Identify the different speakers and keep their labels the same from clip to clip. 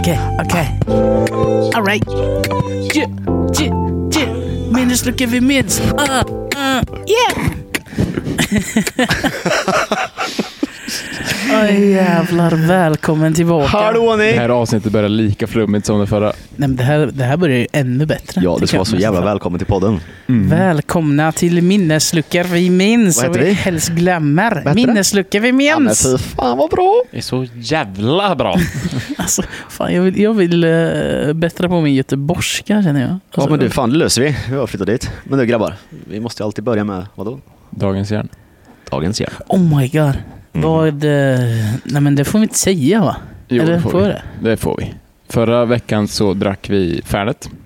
Speaker 1: Okay, okay. All right. J- j- j- Minneslucka minns. Uh, uh, yeah! Oj jävlar, välkommen tillbaka.
Speaker 2: Hallå
Speaker 3: Det
Speaker 2: ni!
Speaker 3: här avsnittet börjar lika flummigt som det förra.
Speaker 1: Nej, men det, här, det här börjar ju ännu bättre.
Speaker 2: Ja,
Speaker 1: tycker
Speaker 2: du ska
Speaker 1: jag.
Speaker 2: vara så jävla välkommen till podden.
Speaker 1: Välkomna till Minnesluckor vi minns
Speaker 2: Vad
Speaker 1: och
Speaker 2: heter vi?
Speaker 1: helst glömmer.
Speaker 2: heter det?
Speaker 1: Minnesluckor vi
Speaker 2: Ja, men
Speaker 1: minns.
Speaker 2: fy fan vad bra!
Speaker 4: Det är så jävla bra.
Speaker 1: Alltså, fan, jag vill, jag vill eh, bättra på min göteborgska känner jag.
Speaker 2: Ja
Speaker 1: Alltså,
Speaker 2: men du, fan det löser vi. Vi har flyttat dit. Men nu grabbar, vi måste ju alltid börja med, vadå?
Speaker 3: Dagens järn.
Speaker 2: Dagens hjälp.
Speaker 1: Oh my god. Vad... eh, Nej men det får vi inte säga va? Eller får
Speaker 3: vi.
Speaker 1: det?
Speaker 3: Det får vi. Förra veckan så drack vi färdigt. Mm.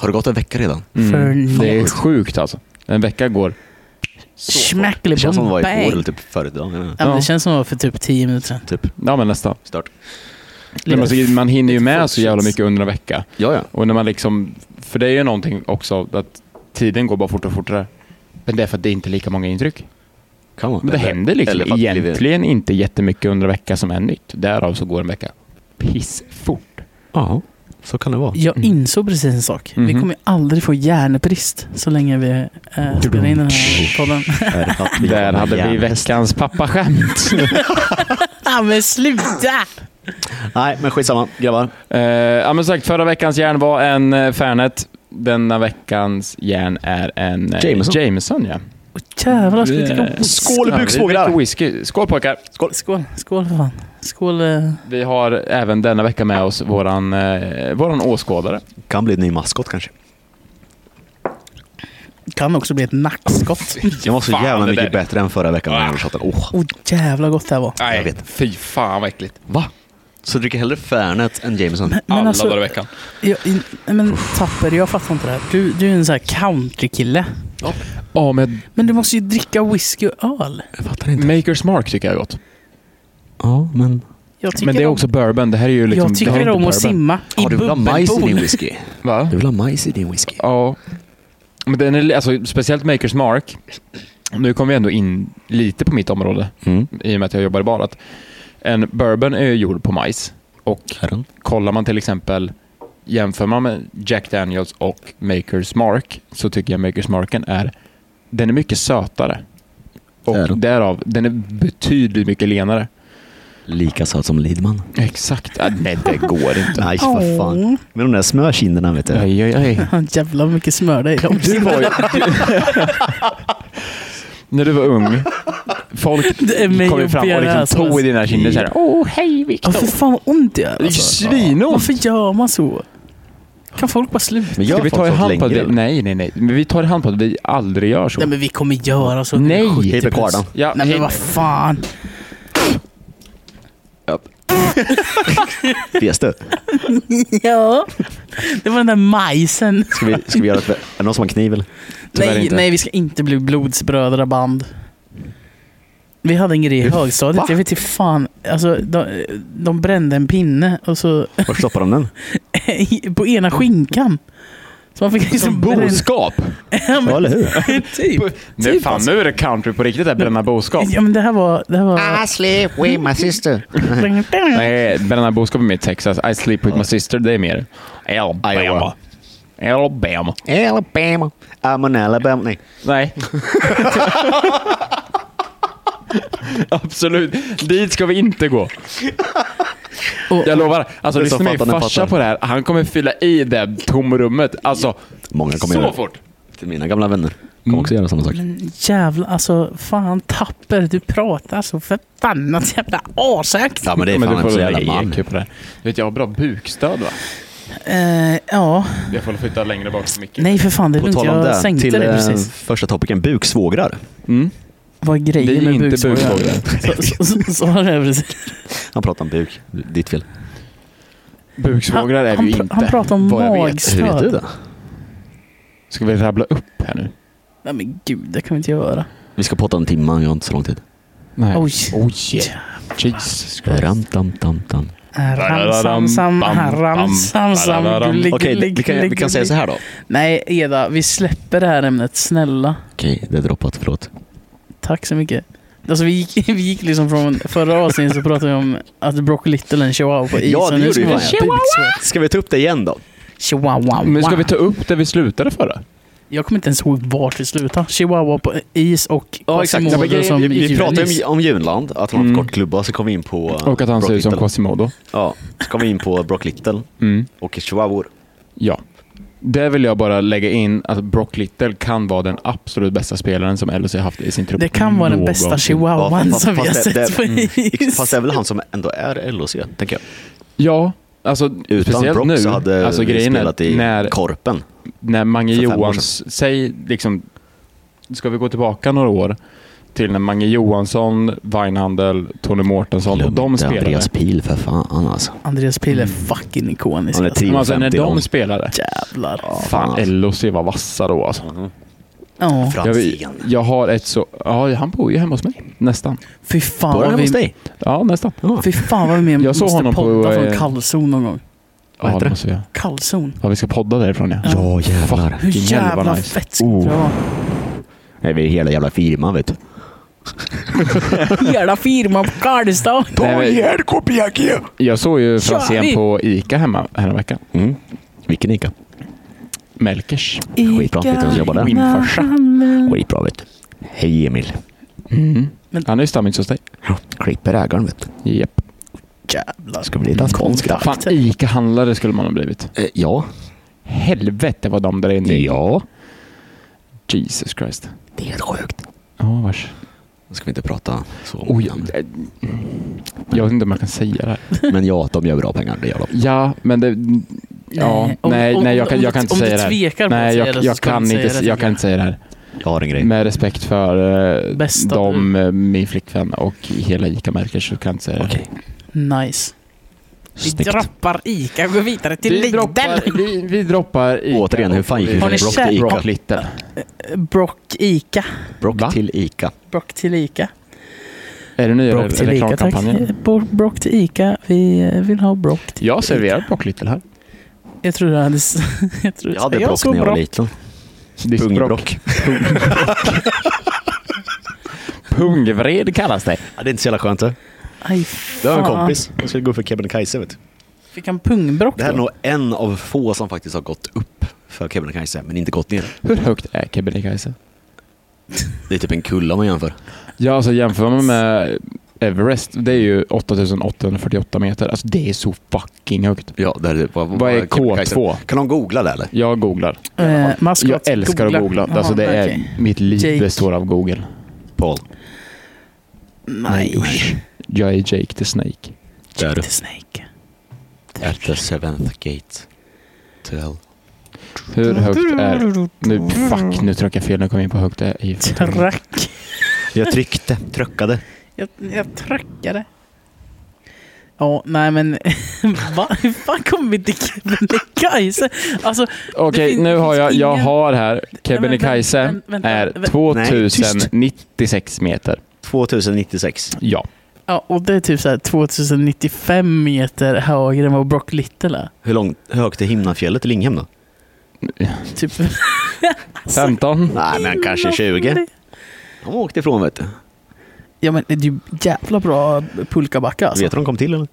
Speaker 2: Har det gått en vecka redan?
Speaker 1: För
Speaker 3: Det är
Speaker 1: något.
Speaker 3: sjukt alltså. En vecka går.
Speaker 2: Det känns som det var
Speaker 1: Schmackelibom
Speaker 2: igår
Speaker 1: bang.
Speaker 2: eller typ förut idag. Jag vet inte.
Speaker 1: Ja, men det
Speaker 3: Ja.
Speaker 1: känns som det var för typ 10 minuter sedan.
Speaker 2: Typ,
Speaker 3: Ja men nästan.
Speaker 2: stört.
Speaker 3: Men alltså, man hinner ju med så jävla
Speaker 1: fortsätts.
Speaker 3: mycket under en vecka.
Speaker 2: Ja, ja.
Speaker 3: Och när man liksom, för det är ju någonting också att tiden går bara fortare och fortare. Men det är för att det är inte är lika många intryck.
Speaker 2: Kan man.
Speaker 3: Men det händer liksom
Speaker 2: eller för att det blir-
Speaker 3: egentligen inte jättemycket under en vecka som är nytt. Därav så går en vecka pissfort.
Speaker 2: Ja, så kan det vara.
Speaker 1: Jag insåg precis en sak. Vi
Speaker 3: Mhm.
Speaker 1: kommer ju aldrig få hjärnbrist så länge vi eh, spelar in den här podden.
Speaker 3: Där hade vi veckans pappaskämt.
Speaker 1: ah, men sluta!
Speaker 2: Nej, men skitsamma grabbar.
Speaker 3: Eh, ja, men sagt, förra veckans järn var en eh, Fernet. Denna veckans järn är en eh,
Speaker 2: Jameson.
Speaker 3: Jameson ja.
Speaker 1: Åh, jävlar, ska vi inte gå
Speaker 3: Eh,
Speaker 1: på
Speaker 2: Skål
Speaker 3: ja, vi
Speaker 2: buksvågrar!
Speaker 3: dricker whisky. Skål pojkar!
Speaker 2: Skål!
Speaker 1: Skål, skål för fan. Skål. eh.
Speaker 3: Vi har även denna vecka med oss våran, eh, våran åskådare.
Speaker 2: Kan bli en ny maskot kanske.
Speaker 1: Kan också bli ett nackskott.
Speaker 2: Jag var så
Speaker 3: Fan,
Speaker 2: jävla
Speaker 3: det
Speaker 2: mycket
Speaker 3: där.
Speaker 2: bättre än förra veckan med översatten. Åh,
Speaker 1: Åh jävlar gott det här var.
Speaker 2: jag
Speaker 3: Nej,
Speaker 2: vet.
Speaker 3: fy fan vad äckligt.
Speaker 2: Va? Så du dricker hellre Fernet än Jameson?
Speaker 1: Men
Speaker 4: Alla dagar i
Speaker 1: alltså,
Speaker 4: veckan.
Speaker 1: jag, in- nej, men Tapper, jag fattar inte det här. Du, du är en sån här countrykille.
Speaker 3: Ja, men
Speaker 1: Men du måste ju dricka whisky och öl.
Speaker 2: Jag fattar inte.
Speaker 3: Maker's Mark tycker jag är gott.
Speaker 2: Ja, men...
Speaker 1: Jag tycker
Speaker 3: Men det är
Speaker 1: om-
Speaker 3: också bourbon. Det här är ju liksom...
Speaker 1: jag
Speaker 3: det här är
Speaker 1: tycker
Speaker 3: inte
Speaker 1: om att
Speaker 3: bourbon.
Speaker 1: simma i
Speaker 2: Har du vill ha majs i din
Speaker 1: bubbelpool.
Speaker 2: whisky?
Speaker 3: Va?
Speaker 2: Du vill ha majs i din whisky?
Speaker 3: Ja. Men den är, alltså, speciellt Maker's Mark. Nu kommer vi ändå in lite på mitt område.
Speaker 2: Mm.
Speaker 3: i och med att jag jobbar i bar. Att en bourbon är ju gjord på majs. Och
Speaker 2: Herren.
Speaker 3: kollar man till exempel, jämför man med Jack Daniels och Maker's Mark, så tycker jag Maker's Marken är, den är mycket sötare. Och
Speaker 2: Är den?
Speaker 3: därav, den är betydligt mycket lenare.
Speaker 2: Lika söt som Lidman.
Speaker 3: Exakt. Ah, nej, det går inte.
Speaker 2: Nej, vad fan. Med de där smörkinderna vet du.
Speaker 3: Aj, aj, aj.
Speaker 1: Åh, Jävlar vad mycket smör det är.
Speaker 3: Du var ju... När du var ung, folk
Speaker 1: Det är mig
Speaker 3: kom ju
Speaker 1: och
Speaker 3: fram och
Speaker 1: Björn
Speaker 3: liksom
Speaker 1: Rasmus.
Speaker 3: tog i dina kinder såhär. Åh, hej
Speaker 1: Ja,
Speaker 3: Viktor.
Speaker 1: för fan vad ont det gör.
Speaker 3: Det är
Speaker 1: Alltså.
Speaker 3: svinont.
Speaker 1: Varför gör man så? Kan folk bara sluta?
Speaker 2: Men
Speaker 3: Ska vi ta i hand på att vi,
Speaker 2: det?
Speaker 3: nej, nej, nej. Men vi tar i hand på att vi aldrig gör så.
Speaker 1: Nej men vi kommer göra så.
Speaker 3: Nej. Typ-
Speaker 1: Skit i
Speaker 2: Hej på
Speaker 1: puss.
Speaker 2: kardan.
Speaker 3: ja,
Speaker 1: Nej men vad fan.
Speaker 2: Fes du?
Speaker 1: Ja. Det var den där majsen.
Speaker 2: Ska vi, ska vi göra ett... Är det någon som har kniv eller?
Speaker 3: Tyvärr
Speaker 1: Nej,
Speaker 3: inte.
Speaker 1: nej, vi ska inte bli blodsbrödraband. Vi hade en grej i högstadiet, jag vet inte fan. Alltså, de, de brände en pinne och så
Speaker 2: Var stoppar de den?
Speaker 1: på ena skinkan. Så man fick liksom
Speaker 3: Som
Speaker 1: bränna-
Speaker 3: boskap!
Speaker 1: Ja, men-
Speaker 2: Ja, eller hur?
Speaker 1: typ.
Speaker 3: Nu, fan, nu är det country på riktigt, det här bränna boskap.
Speaker 1: Ja men det här var... Det här var...
Speaker 3: Ah.
Speaker 5: I sleep with my sister.
Speaker 3: Nej, bränna boskap är mer Texas. I sleep with my sister, det är mer Alabama.
Speaker 2: Iowa.
Speaker 3: Alabama.
Speaker 5: Alabama.
Speaker 2: I'm an Alabama. Nej.
Speaker 3: Nej. Absolut. Dit ska vi inte gå.
Speaker 1: Och-
Speaker 3: Jag lovar. Alltså,
Speaker 2: Det är
Speaker 3: lyssna
Speaker 2: så
Speaker 3: min
Speaker 2: fattarna
Speaker 3: farsa
Speaker 2: fattar.
Speaker 3: på det här. Han kommer fylla i det tomrummet. Alltså,
Speaker 2: Många kommer
Speaker 3: så
Speaker 2: göra
Speaker 3: fort.
Speaker 2: det. Mina gamla vänner kommer också göra samma sak.
Speaker 1: Jävla, alltså fan Tapper, du pratar så förbannat jävla ashögt.
Speaker 2: Ja, men det är
Speaker 3: Ja,
Speaker 2: fan en
Speaker 3: du
Speaker 2: så
Speaker 3: får väl
Speaker 2: jävla
Speaker 3: lägga
Speaker 2: man.
Speaker 3: EQ på det. Du vet, jag har bra bukstöd va?
Speaker 1: Eh, ja,
Speaker 3: Jag får flytta längre bak så mycket.
Speaker 1: nej för fan det är
Speaker 2: På
Speaker 1: lugnt.
Speaker 2: tal om
Speaker 1: Jag
Speaker 2: det,
Speaker 1: sänkte
Speaker 2: till
Speaker 1: det
Speaker 2: eh,
Speaker 1: precis.
Speaker 2: första topicen, buksvågrar.
Speaker 3: Mm.
Speaker 1: Vad är
Speaker 3: Det
Speaker 1: grejen
Speaker 3: är
Speaker 1: med
Speaker 3: inte
Speaker 1: buksvågrar?
Speaker 3: buksvågrar.
Speaker 1: Så- så- så- Så var det precis.
Speaker 2: Han pratar om buk. Ditt fel.
Speaker 3: Buksvågrar är
Speaker 1: Han-
Speaker 3: vi
Speaker 1: han pr-
Speaker 3: ju inte.
Speaker 1: han pratar om
Speaker 3: vad jag vet.
Speaker 1: mags-
Speaker 2: Hur vet
Speaker 1: Stöd.
Speaker 2: du det?
Speaker 3: Ska vi rabbla upp här nu?
Speaker 1: Nej men gud, det kan vi inte göra.
Speaker 2: Vi ska prata om timman, jag har inte så lång tid.
Speaker 3: Nej.
Speaker 1: Oj.
Speaker 3: Oh, yeah. Jesus Christ.
Speaker 2: Ram, tam, tam, tam.
Speaker 1: Ramsamsam, ramsamsam, gullig,
Speaker 2: Okej,
Speaker 1: gullig,
Speaker 2: vi, kan, vi kan säga så här då.
Speaker 1: Nej Eda, vi släpper det här ämnet, snälla.
Speaker 2: Okej, det är droppat, förlåt.
Speaker 1: Tack så mycket. Alltså vi gick, vi gick liksom från förra avsnittet så pratade vi om att Brock Little är en chihuahua på isen.
Speaker 2: Ja, det
Speaker 1: Nu
Speaker 2: gjorde
Speaker 1: ska
Speaker 2: vi
Speaker 1: vara
Speaker 2: fan.
Speaker 1: buksvett.
Speaker 2: Ska vi ta upp det igen då?
Speaker 1: Chihuahua.
Speaker 3: Men ska vi ta upp där vi slutade förra?
Speaker 1: Jag kommer inte ens ihåg vart vi slutade. Chihuahua på is och
Speaker 2: Ja, men
Speaker 1: Quasimodo
Speaker 2: grejen-
Speaker 1: som
Speaker 2: vi, vi
Speaker 1: djurlis.
Speaker 2: pratade om, om Junland, att han har
Speaker 3: Mm.
Speaker 2: haft kortklubba, så kom vi in på... eh,
Speaker 3: Och att han ser ut som
Speaker 2: Brock Little.
Speaker 3: Quasimodo.
Speaker 2: Ja, så kom vi in på Brock Little
Speaker 3: Mm.
Speaker 2: och chihuahuor.
Speaker 3: Ja. Där vill jag bara lägga in att Brock Little kan vara den absolut bästa spelaren som LHC haft i sin trupp.
Speaker 1: Det kan vara den
Speaker 3: någonsin.
Speaker 1: bästa
Speaker 2: Ja,
Speaker 1: chihuahuan
Speaker 2: fast-
Speaker 1: som vi har
Speaker 2: fast det-
Speaker 1: sett på is.
Speaker 2: Fast det är väl han som ändå är LHC, tänker jag.
Speaker 3: Ja, alltså
Speaker 2: Utan
Speaker 3: speciellt
Speaker 2: Brock
Speaker 3: nu.
Speaker 2: så hade
Speaker 3: alltså,
Speaker 2: vi
Speaker 3: grejen
Speaker 2: spelat
Speaker 3: är
Speaker 2: i
Speaker 3: när,
Speaker 2: Korpen.
Speaker 3: när Mange
Speaker 2: för fem år
Speaker 3: Johans, säg liksom, ska vi gå tillbaka några år till när Mange Johansson, Weinhandel, Tony Mårtensson och de spelade.
Speaker 2: Pil för fan alltså.
Speaker 1: Andreas Pil är
Speaker 3: Mm.
Speaker 1: fucking ikonisk.
Speaker 2: Han är
Speaker 1: alltså.
Speaker 2: tre.
Speaker 3: Men Alltså när
Speaker 2: 50
Speaker 3: de
Speaker 2: de.
Speaker 3: spelade.
Speaker 1: Jävlar.
Speaker 2: alltså.
Speaker 3: Fan, LHC var vassa då alltså.
Speaker 1: Ja.
Speaker 3: Jag,
Speaker 2: Franzén.
Speaker 3: jag har ett så... Ja, han bor ju hemma hos mig. Nästan.
Speaker 1: Fy fan
Speaker 2: Var
Speaker 1: vad
Speaker 2: han hos
Speaker 1: vi...
Speaker 2: dig?
Speaker 3: Ja, nästan.
Speaker 1: Fy fan vad vi med
Speaker 3: Jag såg
Speaker 1: måste
Speaker 3: honom på,
Speaker 1: podda
Speaker 3: eh,
Speaker 1: från kallzon någon gång.
Speaker 2: Vad
Speaker 3: ja,
Speaker 2: heter
Speaker 3: det
Speaker 2: det?
Speaker 3: måste vi göra.
Speaker 1: Kallzon.
Speaker 3: Ja, vi ska podda därifrån ja.
Speaker 2: Ja jävlar.
Speaker 1: Hur
Speaker 3: Vilken jävla
Speaker 1: jävla
Speaker 3: nice. Oh.
Speaker 1: fett skulle det vara?
Speaker 2: Nej, vi är hela jävla firman vet du.
Speaker 1: Jävla firma på Karlstad.
Speaker 3: Nej, men
Speaker 2: här Kopiaki!
Speaker 3: jag såg ju
Speaker 1: Kör vi!
Speaker 3: Franzén på Ica hemma häromveckan.
Speaker 2: Mm. Vilken Ica?
Speaker 3: Melkers.
Speaker 2: Skitbra, vet du vem som jobbar där?
Speaker 3: Windfarsa.
Speaker 2: Skitbra vet du. Hej Emil. Mm.
Speaker 1: Men-
Speaker 3: Han är ju stammis hos dig.
Speaker 2: Klipper ägaren vet du.
Speaker 3: Japp.
Speaker 1: Jävlar.
Speaker 2: Ska bli dansk konstkraft.
Speaker 3: Fan, Ica-handlare skulle man ha blivit.
Speaker 2: Eh, Ja.
Speaker 3: Helvete vad de drar in dig.
Speaker 2: Ja.
Speaker 3: Jesus Christ.
Speaker 2: Det är helt sjukt. Oh,
Speaker 3: Ja, vars.
Speaker 2: Nu ska vi inte prata så.
Speaker 3: Oj, eh, jag, jag vet inte om jag kan säga det här.
Speaker 2: Men ja, de gör bra pengar. Det gör de.
Speaker 3: Ja, men det... Ja,
Speaker 1: om-
Speaker 3: nej,
Speaker 1: om-
Speaker 3: nej, jag kan,
Speaker 1: om
Speaker 3: jag
Speaker 1: du-
Speaker 3: kan inte säga det
Speaker 1: Om du
Speaker 3: här.
Speaker 1: tvekar på att
Speaker 3: Nej,
Speaker 1: säga
Speaker 3: jag,
Speaker 1: det så
Speaker 3: jag,
Speaker 1: ska du
Speaker 3: kan,
Speaker 1: säga det,
Speaker 3: inte, jag
Speaker 1: tycker
Speaker 3: kan inte säga det här.
Speaker 2: Jag har en grej.
Speaker 3: Med respekt för eh,
Speaker 1: Bästa
Speaker 3: dem, eh, min flickvän och hela ica Melkers så kan jag inte säga det.
Speaker 2: Okej.
Speaker 1: Nice. Vi
Speaker 2: Snyggt.
Speaker 1: droppar Ica och går vidare till
Speaker 3: vi,
Speaker 1: Lidl.
Speaker 3: droppar, vi, vi droppar Ica.
Speaker 2: Återigen, hur fan gick vi
Speaker 1: Har ni
Speaker 2: från Brock till
Speaker 1: käkat?
Speaker 2: Ica?
Speaker 3: Brock Little.
Speaker 1: Brock Ica.
Speaker 2: Brock
Speaker 3: Va?
Speaker 2: till Ica.
Speaker 1: Brock till Ica.
Speaker 3: Är det nya
Speaker 1: Brock till Ica, tack.
Speaker 3: reklamkampanjen?
Speaker 1: Bro- Brock till Ica. Vi eh, vill ha Brock till
Speaker 3: Jag har serverat Brock Little här.
Speaker 1: Jag tror jag hade... s- Jag, tror
Speaker 2: Jag hade
Speaker 1: jag
Speaker 2: Brock
Speaker 1: såg
Speaker 2: när jag var
Speaker 1: Brock.
Speaker 2: liten.
Speaker 3: Diskbrock.
Speaker 2: Pungbrock.
Speaker 3: Pungvred kallas det.
Speaker 2: Ja, det är inte så jävla skönt det.
Speaker 1: Aj,
Speaker 2: Jag har en
Speaker 1: fan.
Speaker 2: kompis som skulle gå för Kebnekaise. vet du.
Speaker 1: Fick han pungbrock
Speaker 2: Det här är
Speaker 1: då?
Speaker 2: nog en av få som faktiskt har gått upp för Kebnekaise, men inte gått ner.
Speaker 3: Hur högt är Kebnekaise?
Speaker 2: Det är typ en kulla om man jämför.
Speaker 3: Ja, alltså jämför man med Everest, det är ju 8848 meter. Alltså det är så fucking högt.
Speaker 2: Mm. Ja, det här är, vad,
Speaker 3: Vad är K2?
Speaker 2: Kan de googla det eller?
Speaker 3: Jag googlar.
Speaker 1: Eh, maskot,
Speaker 3: Jag älskar att googla. Alltså
Speaker 1: Jaha,
Speaker 3: det är,
Speaker 1: okej.
Speaker 3: mitt liv
Speaker 1: Jake.
Speaker 3: består av Google.
Speaker 2: Paul.
Speaker 1: Nej.
Speaker 2: usch.
Speaker 3: Jag är Jake the Snake.
Speaker 2: Där
Speaker 1: Jake the Snake.
Speaker 2: At the seventh gate. To hell.
Speaker 3: Hur högt är... Nu, fuck, nu tryckte jag fel. Nu kom jag in på högt det är i...
Speaker 1: Track.
Speaker 2: Jag tryckte, tröckade.
Speaker 1: Jag, jag trackade. Ja, nej men... Va? Hur fan kom vi till Kebnekaise? Alltså, Det
Speaker 3: Okej,
Speaker 1: finns-
Speaker 3: nu
Speaker 1: det
Speaker 3: har
Speaker 1: finns
Speaker 3: jag... Jag
Speaker 1: ingen-
Speaker 3: har här.
Speaker 1: men vänta,
Speaker 3: Kebnekaise
Speaker 1: vänta, vänta,
Speaker 3: är
Speaker 1: vänta.
Speaker 3: 2096 meter.
Speaker 2: 2096.
Speaker 3: Ja.
Speaker 1: ja, och det är typ så här 2095 meter högre än vad Brock Little är.
Speaker 2: Hur, långt, hur högt är Himnafjället i Linghem då?
Speaker 1: Typ.
Speaker 3: 15?
Speaker 2: Nej, men kanske 20. De åkte ifrån vet du.
Speaker 1: Ja men det är ju jävla bra pulkabacka alltså.
Speaker 2: Vet du hur de kom till eller?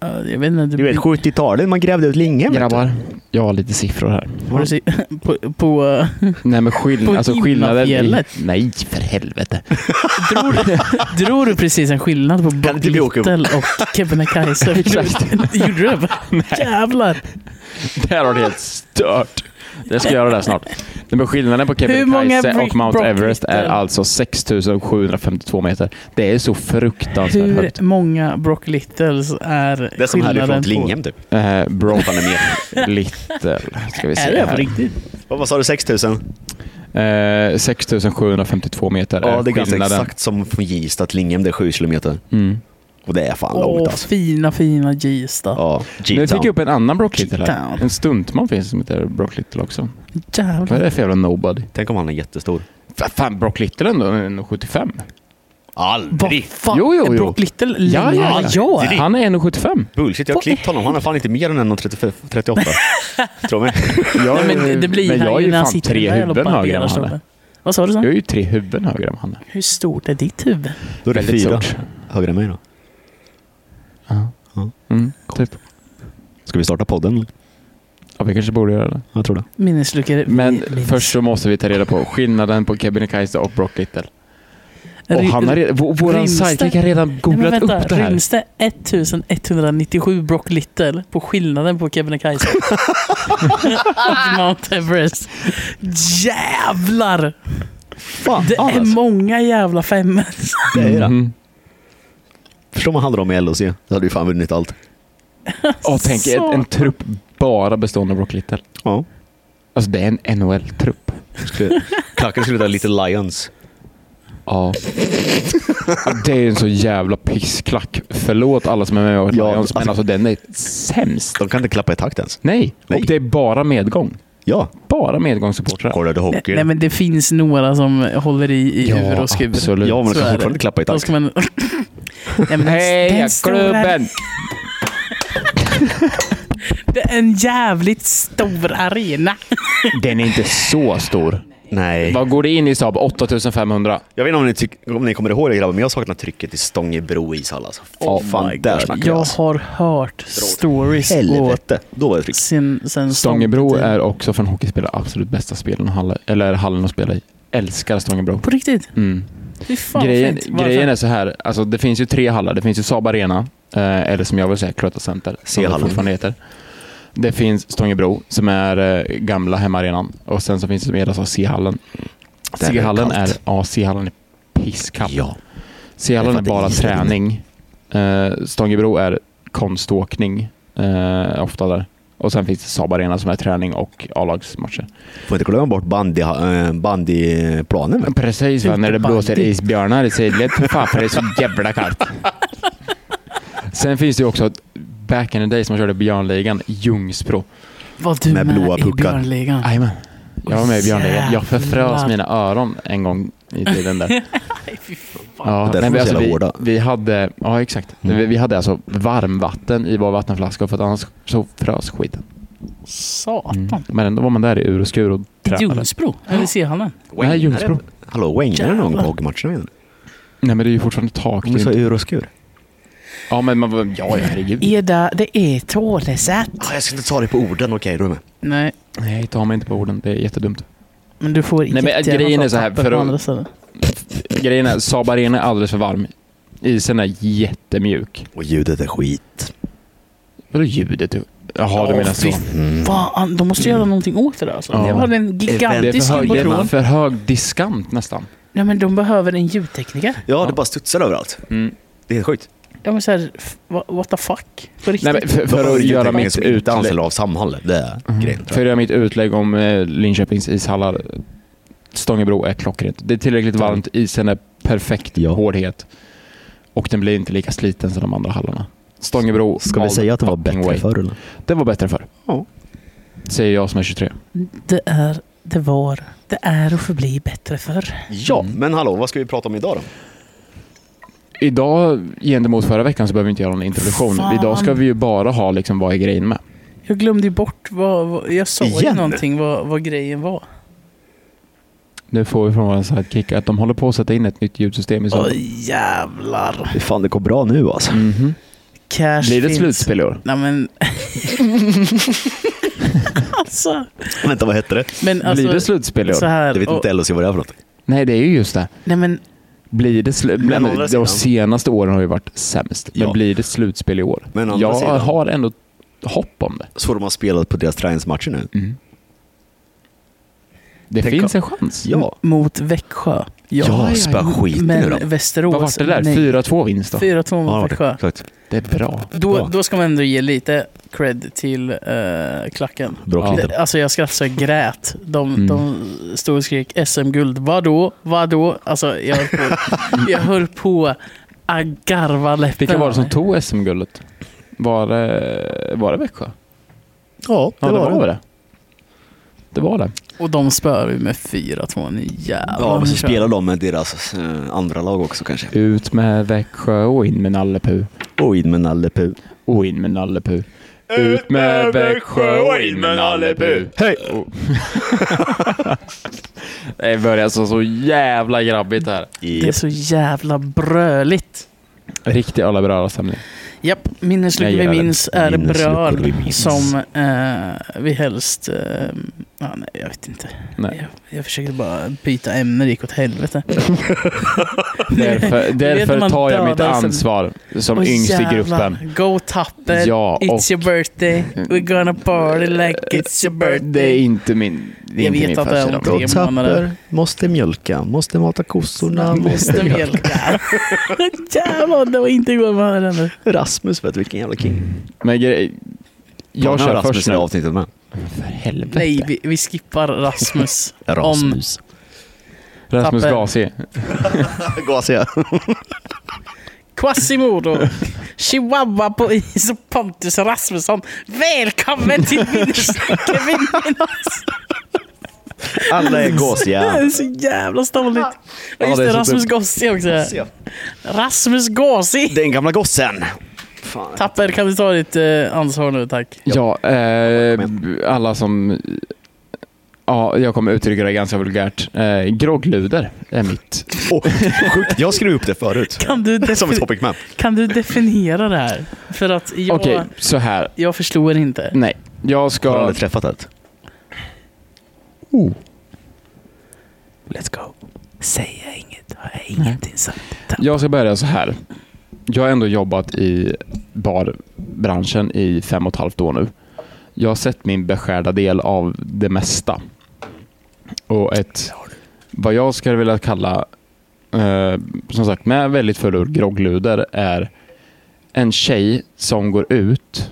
Speaker 1: Ja, Jag vet inte.
Speaker 2: Du vet 70-talet, man grävde ut Linghem. vet du.
Speaker 3: Grabbar, jag har lite siffror här.
Speaker 1: Har du se- på, på, eh,
Speaker 3: Nej men
Speaker 1: På
Speaker 3: skill- alltså skillnaden... i-
Speaker 1: Hinnafjället?
Speaker 3: Nej, för helvete.
Speaker 1: drog, drog du precis en skillnad på Brock
Speaker 2: inte vi åka upp?
Speaker 1: Little och Kebnekaise?
Speaker 3: Exakt.
Speaker 1: Gjorde du det? Jävlar.
Speaker 3: Det här har det helt stört. Jag ska göra det här snart. Nej, men skillnaden på
Speaker 1: Hur många
Speaker 3: Kebnekaise
Speaker 1: Brick
Speaker 3: och Mount
Speaker 1: Brock
Speaker 3: Everest är
Speaker 1: Little?
Speaker 3: alltså 6752 meter. Det är så fruktansvärt högt.
Speaker 1: Hur många Brock Littles är skillnaden
Speaker 2: Det är som härifrån till
Speaker 1: på-
Speaker 2: Linghem typ.
Speaker 3: Eh, Brock Little. Ska vi
Speaker 1: Är
Speaker 3: se
Speaker 1: det på
Speaker 3: här.
Speaker 1: riktigt?
Speaker 2: Vad, vad sa du, 6000?
Speaker 3: Eh, 6752 meter
Speaker 2: Ja,
Speaker 3: är
Speaker 2: det är ganska
Speaker 3: skillnaden.
Speaker 2: exakt som från Gista till Linghem, det är 7 kilometer.
Speaker 3: Mm.
Speaker 2: Och det är fan långt
Speaker 1: Åh,
Speaker 2: alltså.
Speaker 1: fina, fina Gista.
Speaker 2: Ja,
Speaker 3: Nu fick jag upp en annan Brock Little här.
Speaker 1: G-Town.
Speaker 3: En stuntman finns som heter Brock Little också. Vad är
Speaker 1: Jävlar.
Speaker 3: det för jävla nobody?
Speaker 2: Tänk om han är jättestor.
Speaker 3: Fa- Fan, Brock Little ändå är 1,75.
Speaker 1: Vad
Speaker 2: Aldrig!
Speaker 1: fan?
Speaker 3: Jo, jo,
Speaker 1: Är
Speaker 3: jo.
Speaker 1: Brock Little
Speaker 3: Ja, ja,
Speaker 1: ja. ja.
Speaker 3: Han är 1,75.
Speaker 2: Bullshit, jag har
Speaker 1: Vad
Speaker 2: klippt honom. Han är fan inte mer än 1,38. Tror mig.
Speaker 3: Jag,
Speaker 1: Nej, men det- det blir
Speaker 3: men
Speaker 1: han
Speaker 3: jag är
Speaker 1: ju
Speaker 3: ju
Speaker 1: när han
Speaker 3: fan
Speaker 1: sitter i
Speaker 3: tre
Speaker 1: den där jävla
Speaker 3: huvuden högre än vad han
Speaker 1: barberarstolen.
Speaker 3: är.
Speaker 1: Vad sa du
Speaker 3: Jag
Speaker 1: så?
Speaker 3: är ju tre huvuden högre än vad han är.
Speaker 1: Hur stort är ditt huvud?
Speaker 2: Då är det
Speaker 3: Väldigt
Speaker 2: fyra.
Speaker 3: stort.
Speaker 2: Högre än mig då.
Speaker 3: Ja.
Speaker 2: Ja.
Speaker 3: Mm, typ.
Speaker 2: Ska vi starta podden? eller?
Speaker 3: Ja, vi kanske borde göra det.
Speaker 2: Jag tror det.
Speaker 1: Minnesluckor.
Speaker 3: Men
Speaker 1: Minnes-
Speaker 3: först så måste vi ta reda på skillnaden på Kebnekaise och Brock Little. Och
Speaker 1: Ry-
Speaker 3: han har redan, vår vår
Speaker 1: Rymsta-
Speaker 3: sidekick har redan
Speaker 1: Nej, men
Speaker 3: googlat
Speaker 1: vänta,
Speaker 3: upp det här.
Speaker 1: Ryms det 1197 Brock Little på skillnaden på Kebnekaise? och Mount Everest. Jävlar!
Speaker 2: Fan,
Speaker 1: Det
Speaker 2: ja,
Speaker 1: är
Speaker 2: alltså.
Speaker 1: många jävla femmor.
Speaker 2: det är det.
Speaker 3: Mhm.
Speaker 2: Förstår man hade dem i LOC. Då hade vi fan vunnit allt.
Speaker 3: Och tänk en, en trupp bara bestående av Brock Little.
Speaker 2: Ja.
Speaker 3: Alltså det är en NHL-trupp.
Speaker 2: Skulle, klacken skulle ta lite Lions.
Speaker 3: Ja. Det är ju en så jävla pissklack. Förlåt alla som är med och
Speaker 2: Ja,
Speaker 3: ja, men
Speaker 2: alltså-
Speaker 3: alltså den är sämst.
Speaker 2: De kan inte klappa i takt ens.
Speaker 3: Nej.
Speaker 2: Nej.
Speaker 3: och det är bara medgång.
Speaker 2: Ja.
Speaker 3: Bara medgångssupportrar.
Speaker 2: Kollar du
Speaker 1: Nej,
Speaker 2: hockey?
Speaker 1: nej men det finns några som håller i, i ur och skur.
Speaker 3: absolut.
Speaker 2: ja, men de
Speaker 1: så är
Speaker 2: kan
Speaker 1: det.
Speaker 2: fortfarande klappa i
Speaker 1: Då
Speaker 2: takt.
Speaker 1: ska man... Nej, men
Speaker 4: Heja
Speaker 1: den stora-
Speaker 4: klubben!
Speaker 1: Det är en jävligt stor arena.
Speaker 3: Den är inte så stor.
Speaker 2: Nej.
Speaker 3: Vad går det in i Saab? 8500?
Speaker 2: Jag vet inte om ni, tyck- om ni kommer ihåg det grabbar, men jag saknar trycket i Stångebro ishall alltså. Fy
Speaker 3: Oh my
Speaker 2: fan, där
Speaker 3: God.
Speaker 2: snackar vi
Speaker 1: Jag
Speaker 2: alltså.
Speaker 1: har hört stories och
Speaker 2: Helvete. Då var det tryck.
Speaker 1: sen, sen
Speaker 3: typ Stångebro
Speaker 1: stångetid.
Speaker 3: är också från hockeyspelare absolut bästa spelen, hallen- eller hallen att spela i. Älskar Stångebro.
Speaker 1: På riktigt?
Speaker 3: Mm.
Speaker 1: Fy fan
Speaker 3: grejen,
Speaker 1: vad fint. Varför?
Speaker 3: grejen är så här, alltså det finns ju tre hallar. Det finns ju Saab Arena, eh, eller som jag vill säga, Cloetta Center. som det
Speaker 2: C-hallen.
Speaker 3: fortfarande heter. Det finns Stångebro, som är eh, gamla hemmaarenan. Och sen så finns det som heter C-hallen.
Speaker 2: Där är det
Speaker 3: C-hallen är,
Speaker 2: kallt.
Speaker 3: ja, C-hallen är pisskall.
Speaker 2: Ja.
Speaker 3: C-hallen
Speaker 2: Det
Speaker 3: är
Speaker 2: är för
Speaker 3: bara
Speaker 2: att det är isen.
Speaker 3: träning. Eh, Stångebro är konståkning, eh, ofta där. Och sen finns det Saab Arena som är träning och A-lagsmatcher.
Speaker 2: Får inte glömma bort bandy, eh, bandyplanen. vet
Speaker 3: Precis va, när det
Speaker 1: Utebandy.
Speaker 3: blåser isbjörnar i sidled. Fy fan, för det är så jävla kallt. Sen finns det ju också ett- back in the days man körde Björnligan, Ljungsbro.
Speaker 1: Var du
Speaker 2: Med
Speaker 1: med,
Speaker 2: blåa
Speaker 1: i
Speaker 2: puckar.
Speaker 1: Björnligan?
Speaker 3: Jajamän. Jag var med i Björnligan. Jag förfrös
Speaker 1: Jävlar.
Speaker 3: mina öron en gång i tiden där.
Speaker 1: Nej, fy fan.
Speaker 3: Ja,
Speaker 2: Det är därför
Speaker 3: nej,
Speaker 2: de
Speaker 3: men
Speaker 2: är så
Speaker 3: alltså,
Speaker 2: jävla
Speaker 3: vi,
Speaker 2: hårda.
Speaker 3: vi hade, ja exakt.
Speaker 2: Mm.
Speaker 3: Vi, vi hade alltså varmvatten i vår vattenflaska för att annars så frös skiten.
Speaker 1: Satan.
Speaker 3: Mm. Men ändå var man där i ur och skur och
Speaker 1: Det är
Speaker 3: tränade.
Speaker 1: Ljungsbro. Eller Sehallen.
Speaker 2: du.
Speaker 3: Nej, Ljungsbro.
Speaker 2: Hallå, Wayne, är det någon
Speaker 1: Jävlar.
Speaker 2: på hockeymatcherna? menar
Speaker 3: Nej men det är ju fortfarande tak.
Speaker 2: du?
Speaker 3: det är
Speaker 2: Du sa
Speaker 3: inte-
Speaker 2: ur och skur.
Speaker 3: Ja men man, var- ja ja, herregud.
Speaker 1: Eda, det är Tålesätt.
Speaker 2: Ah, jag ska inte ta dig på orden, okej då är du med.
Speaker 1: Nej,
Speaker 3: Nej, ta mig inte på orden. Det är jättedumt.
Speaker 1: men du får
Speaker 3: men
Speaker 1: jättegärna
Speaker 3: grejen
Speaker 1: ta
Speaker 3: är så här,
Speaker 1: papper
Speaker 3: för
Speaker 1: på
Speaker 3: att-
Speaker 1: andra ställen.
Speaker 3: Grejen är, Saab Arena är alldeles för varm. Isen är jättemjuk.
Speaker 2: Och ljudet är skit.
Speaker 3: Vadå ljudet? Jaha,
Speaker 1: Ja,
Speaker 3: du menar så.
Speaker 1: fy
Speaker 3: Mm.
Speaker 1: Fan, de måste göra någonting åt det där alltså.
Speaker 3: Ja.
Speaker 1: Det var en
Speaker 3: Det är,
Speaker 1: gigantisk
Speaker 3: för hög, det är
Speaker 1: produktion.
Speaker 3: för hög diskant nästan.
Speaker 1: Nej men de behöver en ljudtekniker.
Speaker 2: Ja, det bara studsar överallt.
Speaker 3: Mm.
Speaker 2: Det är helt sjukt.
Speaker 1: Ja men såhär, what the fuck? På riktigt.
Speaker 3: Nej, men för, för, att göra mitt utlägg,
Speaker 2: Anställda av Samhall, det är grejen.
Speaker 3: för att göra mitt utlägg om eh, Linköpings ishallar. Stångebro är klockrent. Det är tillräckligt varmt, isen är perfekt
Speaker 2: Ja.
Speaker 3: hårdhet. Och den blir inte lika sliten som de andra hallarna. Stångebro
Speaker 2: Ska vi
Speaker 3: all
Speaker 2: säga att det var
Speaker 3: fucking
Speaker 2: bättre
Speaker 3: way.
Speaker 2: förr eller?
Speaker 3: Det var bättre förr.
Speaker 2: Ja.
Speaker 3: Säger jag som är 23.
Speaker 1: Det är, det var, det är och förblir bättre förr.
Speaker 2: Ja,
Speaker 3: Mm.
Speaker 2: men hallå, vad ska vi prata om idag då?
Speaker 3: Idag, gentemot förra veckan, så behöver vi inte göra någon introduktion.
Speaker 1: Fan.
Speaker 3: Idag ska vi ju bara ha liksom, vad är grejen med?
Speaker 1: Jag glömde ju bort vad, vad jag sa ju
Speaker 2: Igen?
Speaker 1: någonting vad, vad grejen var.
Speaker 3: Nu får vi från vår sidekick att de håller på att sätta in ett nytt ljudsystem i sommar.
Speaker 1: jävlar.
Speaker 2: Fy fan, det går bra nu alltså.
Speaker 3: Mhm.
Speaker 1: Cash
Speaker 3: Blir det ett
Speaker 1: finns.
Speaker 3: slutspel i år?
Speaker 1: Nej men. alltså.
Speaker 2: Vänta, vad hette det?
Speaker 1: Men alltså.
Speaker 3: Blir det slutspel i
Speaker 1: så
Speaker 3: år?
Speaker 1: här,
Speaker 2: Det vet
Speaker 1: och,
Speaker 2: inte LOC vad det är för något.
Speaker 3: Nej, det är ju just det.
Speaker 1: Nej men
Speaker 3: Blir det slu-
Speaker 2: Men å andra
Speaker 3: men, de
Speaker 2: sidan-
Speaker 3: senaste åren har ju varit sämst. Men
Speaker 2: Ja.
Speaker 3: blir det slutspel i år?
Speaker 2: Men å andra
Speaker 3: jag
Speaker 2: sidan-
Speaker 3: har ändå hopp om det.
Speaker 2: Så de har spelat på deras träningsmatcher nu?
Speaker 3: Det
Speaker 2: Tänk
Speaker 3: finns
Speaker 2: om-
Speaker 3: en chans.
Speaker 2: Mm. Ja.
Speaker 1: mot Växjö.
Speaker 2: Ja,
Speaker 3: ja,
Speaker 2: spöa
Speaker 3: ja.
Speaker 2: skiten nu då.
Speaker 1: Men Västerås.
Speaker 3: Vad var det där?
Speaker 1: nej.
Speaker 3: 4-2 vinst då?
Speaker 1: 4-2
Speaker 2: Ja,
Speaker 1: mot
Speaker 2: det-
Speaker 1: Växjö.
Speaker 2: exakt.
Speaker 3: Det är bra.
Speaker 1: Då,
Speaker 2: Ja.
Speaker 1: då ska man ändå ge lite cred till eh, klacken.
Speaker 2: Bra
Speaker 3: Ja.
Speaker 2: kille.
Speaker 1: Det, alltså jag skrattade så jag grät. De,
Speaker 3: Mm.
Speaker 1: de stod och skrek SM-guld. Vadå? Vadå? Alltså jag höll på, jag höll på att garva läppen.
Speaker 3: Vilka var det som
Speaker 1: av
Speaker 3: tog SM-guldet? Var det, var det Växjö?
Speaker 2: Ja,
Speaker 3: Ja, det, var, det. Det var det.
Speaker 1: mig. Och de spöar vi med 4-2. Ni jävlar.
Speaker 2: Ja, men så
Speaker 1: ni kör.
Speaker 3: Mm.
Speaker 2: spelar de med deras eh, andra lag också kanske.
Speaker 3: Ut med Växjö och in med Nallepu.
Speaker 2: Och in med Nalle Puh.
Speaker 3: Och in med Nallepu. Ut med Växjö och in med Nalle Puh.
Speaker 2: Hej!
Speaker 4: Det börjar så, så jävla grabbigt här.
Speaker 1: Det är
Speaker 2: Yes.
Speaker 1: så jävla bröligt.
Speaker 3: Riktig alla bröda stämning.
Speaker 1: Japp, minnesluckor
Speaker 3: Jag
Speaker 1: vi
Speaker 3: gillar den.
Speaker 1: minns är
Speaker 2: Minnesluckor
Speaker 1: bröl
Speaker 2: vi minns.
Speaker 1: som eh, vi helst... Eh, ja, nej, jag vet inte.
Speaker 3: Nej.
Speaker 1: Jag, jag försökte bara byta ämne, det gick åt helvete.
Speaker 3: Därför,
Speaker 1: när
Speaker 3: därför
Speaker 1: man
Speaker 3: tar jag mitt
Speaker 1: dödar sen-
Speaker 3: ansvar som
Speaker 1: Åh,
Speaker 3: yngst i
Speaker 1: jävlar.
Speaker 3: gruppen.
Speaker 1: Go Tapper,
Speaker 3: Ja, och-
Speaker 1: it's your birthday, we're gonna party like it's your
Speaker 3: Det är
Speaker 1: birthday.
Speaker 3: inte min, det är
Speaker 1: Jag
Speaker 3: inte
Speaker 1: vet
Speaker 3: min
Speaker 1: att det är
Speaker 3: födelsedag.
Speaker 1: tre månader.
Speaker 2: måste mjölka, måste mata kossorna,
Speaker 1: Måste mjölka. Jävlar, det var inte igår man hörde nu.
Speaker 2: Rasmus vet du, vilken jävla king.
Speaker 3: Men grej, jag
Speaker 2: Fan,
Speaker 3: kör
Speaker 2: Rasmus
Speaker 3: först
Speaker 2: i
Speaker 3: nu.
Speaker 2: det avsnittet med.
Speaker 3: För helvete.
Speaker 1: Nej, vi, vi skippar Rasmus.
Speaker 2: Rasmus.
Speaker 3: Rasmus
Speaker 1: Tapper.
Speaker 3: Gasi.
Speaker 2: Gasiga.
Speaker 1: Quasimodo, chihuahua på is och Pontus Rasmusson. Välkommen till minnesluckor vi minns.
Speaker 2: Alla är
Speaker 1: Det
Speaker 2: gasiga.
Speaker 1: är så jävla stolligt.
Speaker 2: Ja,
Speaker 1: Och just
Speaker 2: det är
Speaker 1: det,
Speaker 2: så
Speaker 1: Rasmus
Speaker 2: dumt.
Speaker 1: Gossi också. Rasmus Gossi!
Speaker 2: Den gamla gossen. Fan.
Speaker 1: Tapper, kan du ta ditt eh, ansvar nu tack?
Speaker 3: Ja, eh, alla som... Ja, jag kommer uttrycka det ganska vulgärt. Eh, groggluder är mitt.
Speaker 2: Åh, sjukt. Jag skrev upp det förut.
Speaker 1: Kan du, defi-
Speaker 2: Som ett topic map.
Speaker 1: kan du definiera det här? För att jag,
Speaker 3: Okej, så här.
Speaker 1: jag förstår inte.
Speaker 3: Nej, jag
Speaker 2: Har du
Speaker 3: ska...
Speaker 2: aldrig träffat ett?
Speaker 1: Let's go. Säg jag inget, har jag ingenting sagt.
Speaker 3: Jag ska börja så här. Jag har ändå jobbat i barbranschen i fem och ett halvt år nu. Jag har sett min beskärda del av det mesta. Och ett, vad jag skulle vilja kalla, eh, som sagt, med väldigt full groggluder är en tjej som går ut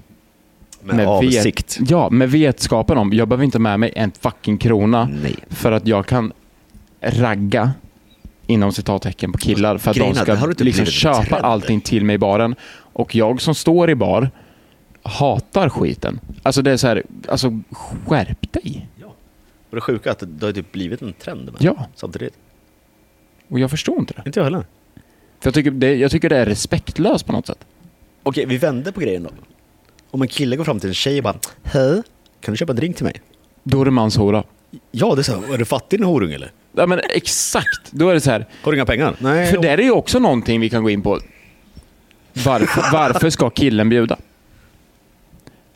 Speaker 2: Med,
Speaker 3: vet-
Speaker 2: avsikt.
Speaker 3: ja, med vetskapen om, jag behöver inte med mig en fucking krona
Speaker 2: Nej.
Speaker 3: för att jag kan ragga inom citattecken på killar för att
Speaker 2: Grejen är
Speaker 3: de
Speaker 2: att
Speaker 3: ska
Speaker 2: det har inte
Speaker 3: liksom
Speaker 2: blivit
Speaker 3: köpa
Speaker 2: trend.
Speaker 3: allting till mig i baren. Och jag som står i bar hatar skiten. Alltså det är så här, alltså skärp dig.
Speaker 2: Och det sjuka är att det har typ blivit en trend med
Speaker 3: Ja,
Speaker 2: samtidigt.
Speaker 3: och jag förstår inte det.
Speaker 2: Inte jag heller.
Speaker 3: För jag tycker det, jag tycker det är respektlöst på något sätt.
Speaker 2: Okej, vi vänder på grejen då. Om en kille går fram till en tjej och bara Hej, kan du köpa en drink till mig?
Speaker 3: Då är det manshora.
Speaker 2: Ja, det är så. här, Är du fattig din horung eller?
Speaker 3: Ja men exakt, då är det så här.
Speaker 2: Har du inga pengar? Nej.
Speaker 3: För det är ju också någonting vi kan gå in på. Varför, varför ska killen bjuda?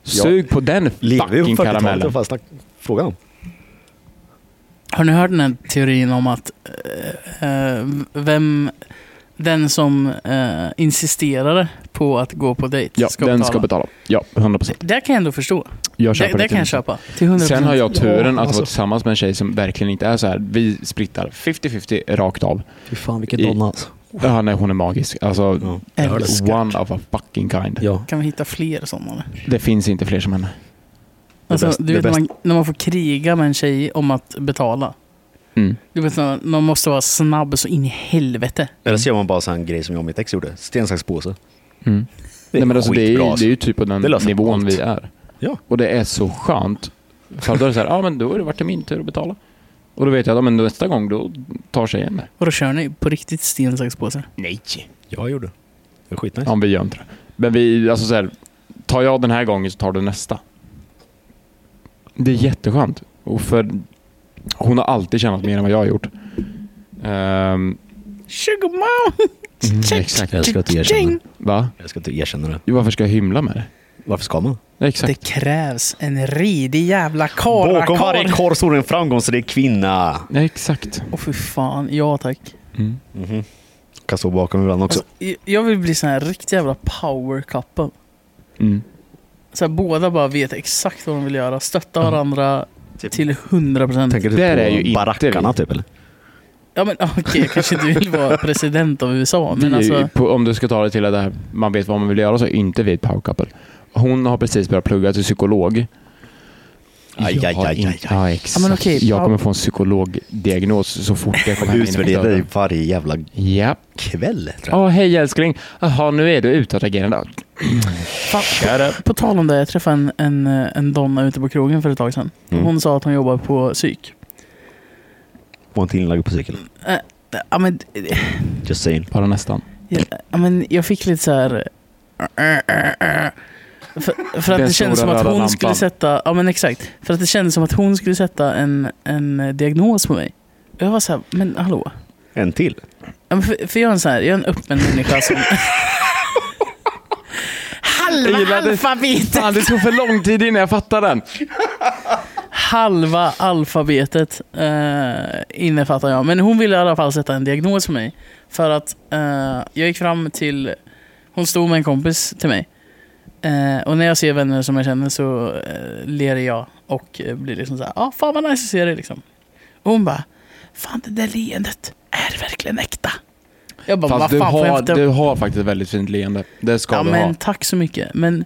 Speaker 2: Ja.
Speaker 3: Sug på den
Speaker 2: Lever ju
Speaker 3: fucking
Speaker 2: på 40-talet.
Speaker 3: karamellen.
Speaker 2: Vad fan snack- Fråga om.
Speaker 1: Har ni hört den här teorin om att eh, eh, vem, den som eh, insisterade på att gå på dejt
Speaker 3: Ja,
Speaker 1: ska
Speaker 3: den
Speaker 1: betala?
Speaker 3: ska betala. Ja, 100%.
Speaker 1: Det kan jag ändå förstå.
Speaker 3: Jag
Speaker 1: Det,
Speaker 3: köper
Speaker 1: det kan jag
Speaker 3: till mig.
Speaker 1: köpa. Till 100%.
Speaker 3: Sen har jag turen att
Speaker 2: alltså.
Speaker 3: vara tillsammans med en tjej som verkligen inte är så här. Vi splittar 50-50 rakt av.
Speaker 2: Fy fan vilken
Speaker 3: I-
Speaker 2: donna alltså.
Speaker 3: Ja, nej, hon är magisk. Alltså,
Speaker 2: Ja.
Speaker 1: jag hörde
Speaker 3: one of a fucking kind.
Speaker 2: Ja.
Speaker 1: Kan vi hitta fler sådana? eller?
Speaker 3: Det finns inte fler som henne.
Speaker 1: Alltså,
Speaker 2: bäst-
Speaker 1: du
Speaker 2: det
Speaker 1: vet när man, när man får kriga med en tjej om att betala.
Speaker 3: Mm.
Speaker 1: Du vet, när man måste vara snabb så in i helvete.
Speaker 2: Eller så gör man bara så här en grej som jag och mitt ex gjorde. Sten, sax, påse.
Speaker 3: Mm.
Speaker 2: Det är
Speaker 3: Nej, men alltså, det, är,
Speaker 2: skitbra,
Speaker 3: ju-
Speaker 2: alltså.
Speaker 3: det är ju typ på den
Speaker 2: Det löser
Speaker 3: nivån
Speaker 2: allt.
Speaker 3: vi är.
Speaker 2: Ja.
Speaker 3: Och det är så skönt. För då är det så här, ja ah, men då har det varit min tur att betala. Och då vet jag att ah, men nästa gång då tar tjejen det.
Speaker 1: Och då kör ni på riktigt sten, sax, påse.
Speaker 3: Nej.
Speaker 2: Jag gjorde. Det är skitnice.
Speaker 3: Ja, men vi gör inte det. Men vi, alltså så här, tar jag den här gången så tar du nästa. Det är jätteskönt. Och för hon har alltid tjänat mer än vad jag har gjort. Ehm, mm,
Speaker 1: Sugar mom!
Speaker 3: exakt.
Speaker 2: Jag älskar att du erkänner.
Speaker 3: Va?
Speaker 2: Jag älskar att du erkänner det.
Speaker 3: Jo, Varför ska jag hymla med det?
Speaker 2: Varför ska man?
Speaker 3: Ja,
Speaker 1: Det
Speaker 3: Exakt.
Speaker 1: krävs en redig jävla
Speaker 2: Bakom varje
Speaker 1: karlakarl.
Speaker 2: korv står en framgångsrik kvinna.
Speaker 3: Ja, exakt.
Speaker 1: Åh fy fan, ja tack.
Speaker 3: Mm.
Speaker 2: Mhm. Kan stå bakom ibland också.
Speaker 1: Alltså, jag- jag vill bli sån här riktig jävla power couple.
Speaker 3: Mm.
Speaker 1: Så här, båda bara vet exakt vad de vill göra. Stötta varandra
Speaker 2: Typ.
Speaker 1: till 100%.
Speaker 2: Tänker du
Speaker 3: Alltså, Där
Speaker 2: på
Speaker 3: är ju inte vi.
Speaker 2: barackarna typ eller?
Speaker 1: Ja men okej, jag kanske inte vill vara president av USA.
Speaker 3: Vi
Speaker 1: Men
Speaker 3: är ju
Speaker 1: alltså,
Speaker 3: på, om du ska ta det till det här, man vet vad man vill göra, så är inte vi ett power couple. Hon har precis börjat plugga till psykolog.
Speaker 2: Aj,
Speaker 3: Jag
Speaker 2: aj,
Speaker 3: har
Speaker 2: aj,
Speaker 3: in-
Speaker 2: aj, aj.
Speaker 3: Ja, exakt.
Speaker 1: Ja, men okej,
Speaker 3: jag
Speaker 1: pow-
Speaker 3: kommer få en psykologdiagnos så fort jag kommer hem.
Speaker 2: Utvärderar dig varje jävla
Speaker 3: Ja.
Speaker 2: kväll. tror jag.
Speaker 3: Åh, hej älskling. Jaha, nu är du utåtagerande.
Speaker 1: fan, på tal om det, jag träffade en, en, eh, en donna ute på krogen för ett tag sedan.
Speaker 2: Mm.
Speaker 1: Hon sa att hon jobbar på psyk.
Speaker 2: Var inte inlagd på cykeln.
Speaker 1: Ja men, eh,
Speaker 2: Just saying.
Speaker 3: Bara nästan.
Speaker 1: ja, men jag fick lite så här. För, för att
Speaker 3: Den
Speaker 1: det kändes som
Speaker 3: stora
Speaker 1: att
Speaker 3: röda
Speaker 1: hon
Speaker 3: lampan.
Speaker 1: skulle sätta, ja men exakt. För att det kändes som att hon skulle sätta en, en eh, diagnos på mig. Och jag var så här, men hallå?
Speaker 2: En till.
Speaker 1: Ja, men för, för jag är en sån här, jag är en öppen människa som...
Speaker 3: Jag
Speaker 1: halva
Speaker 3: gillade-
Speaker 1: alfabetet!
Speaker 3: Fan, det tog för lång tid innan jag fattade den.
Speaker 1: Halva alfabetet eh, innefattar jag. Men hon ville i alla fall sätta en diagnos på mig. För att eh, jag gick fram till, hon stod med en kompis till mig. Eh, och när jag ser vänner som jag känner så eh, ler jag och eh, blir liksom så här, ah, fan vad nice att se dig liksom. Och hon bara, fan det där leendet, är det verkligen äkta? Jag bara, vad
Speaker 3: Fast
Speaker 1: fan
Speaker 3: du
Speaker 1: får jag
Speaker 3: har,
Speaker 1: inte-
Speaker 3: du har faktiskt ett väldigt fint leende. Det ska
Speaker 1: Ja
Speaker 3: du
Speaker 1: men
Speaker 3: ha.
Speaker 1: tack så mycket. Men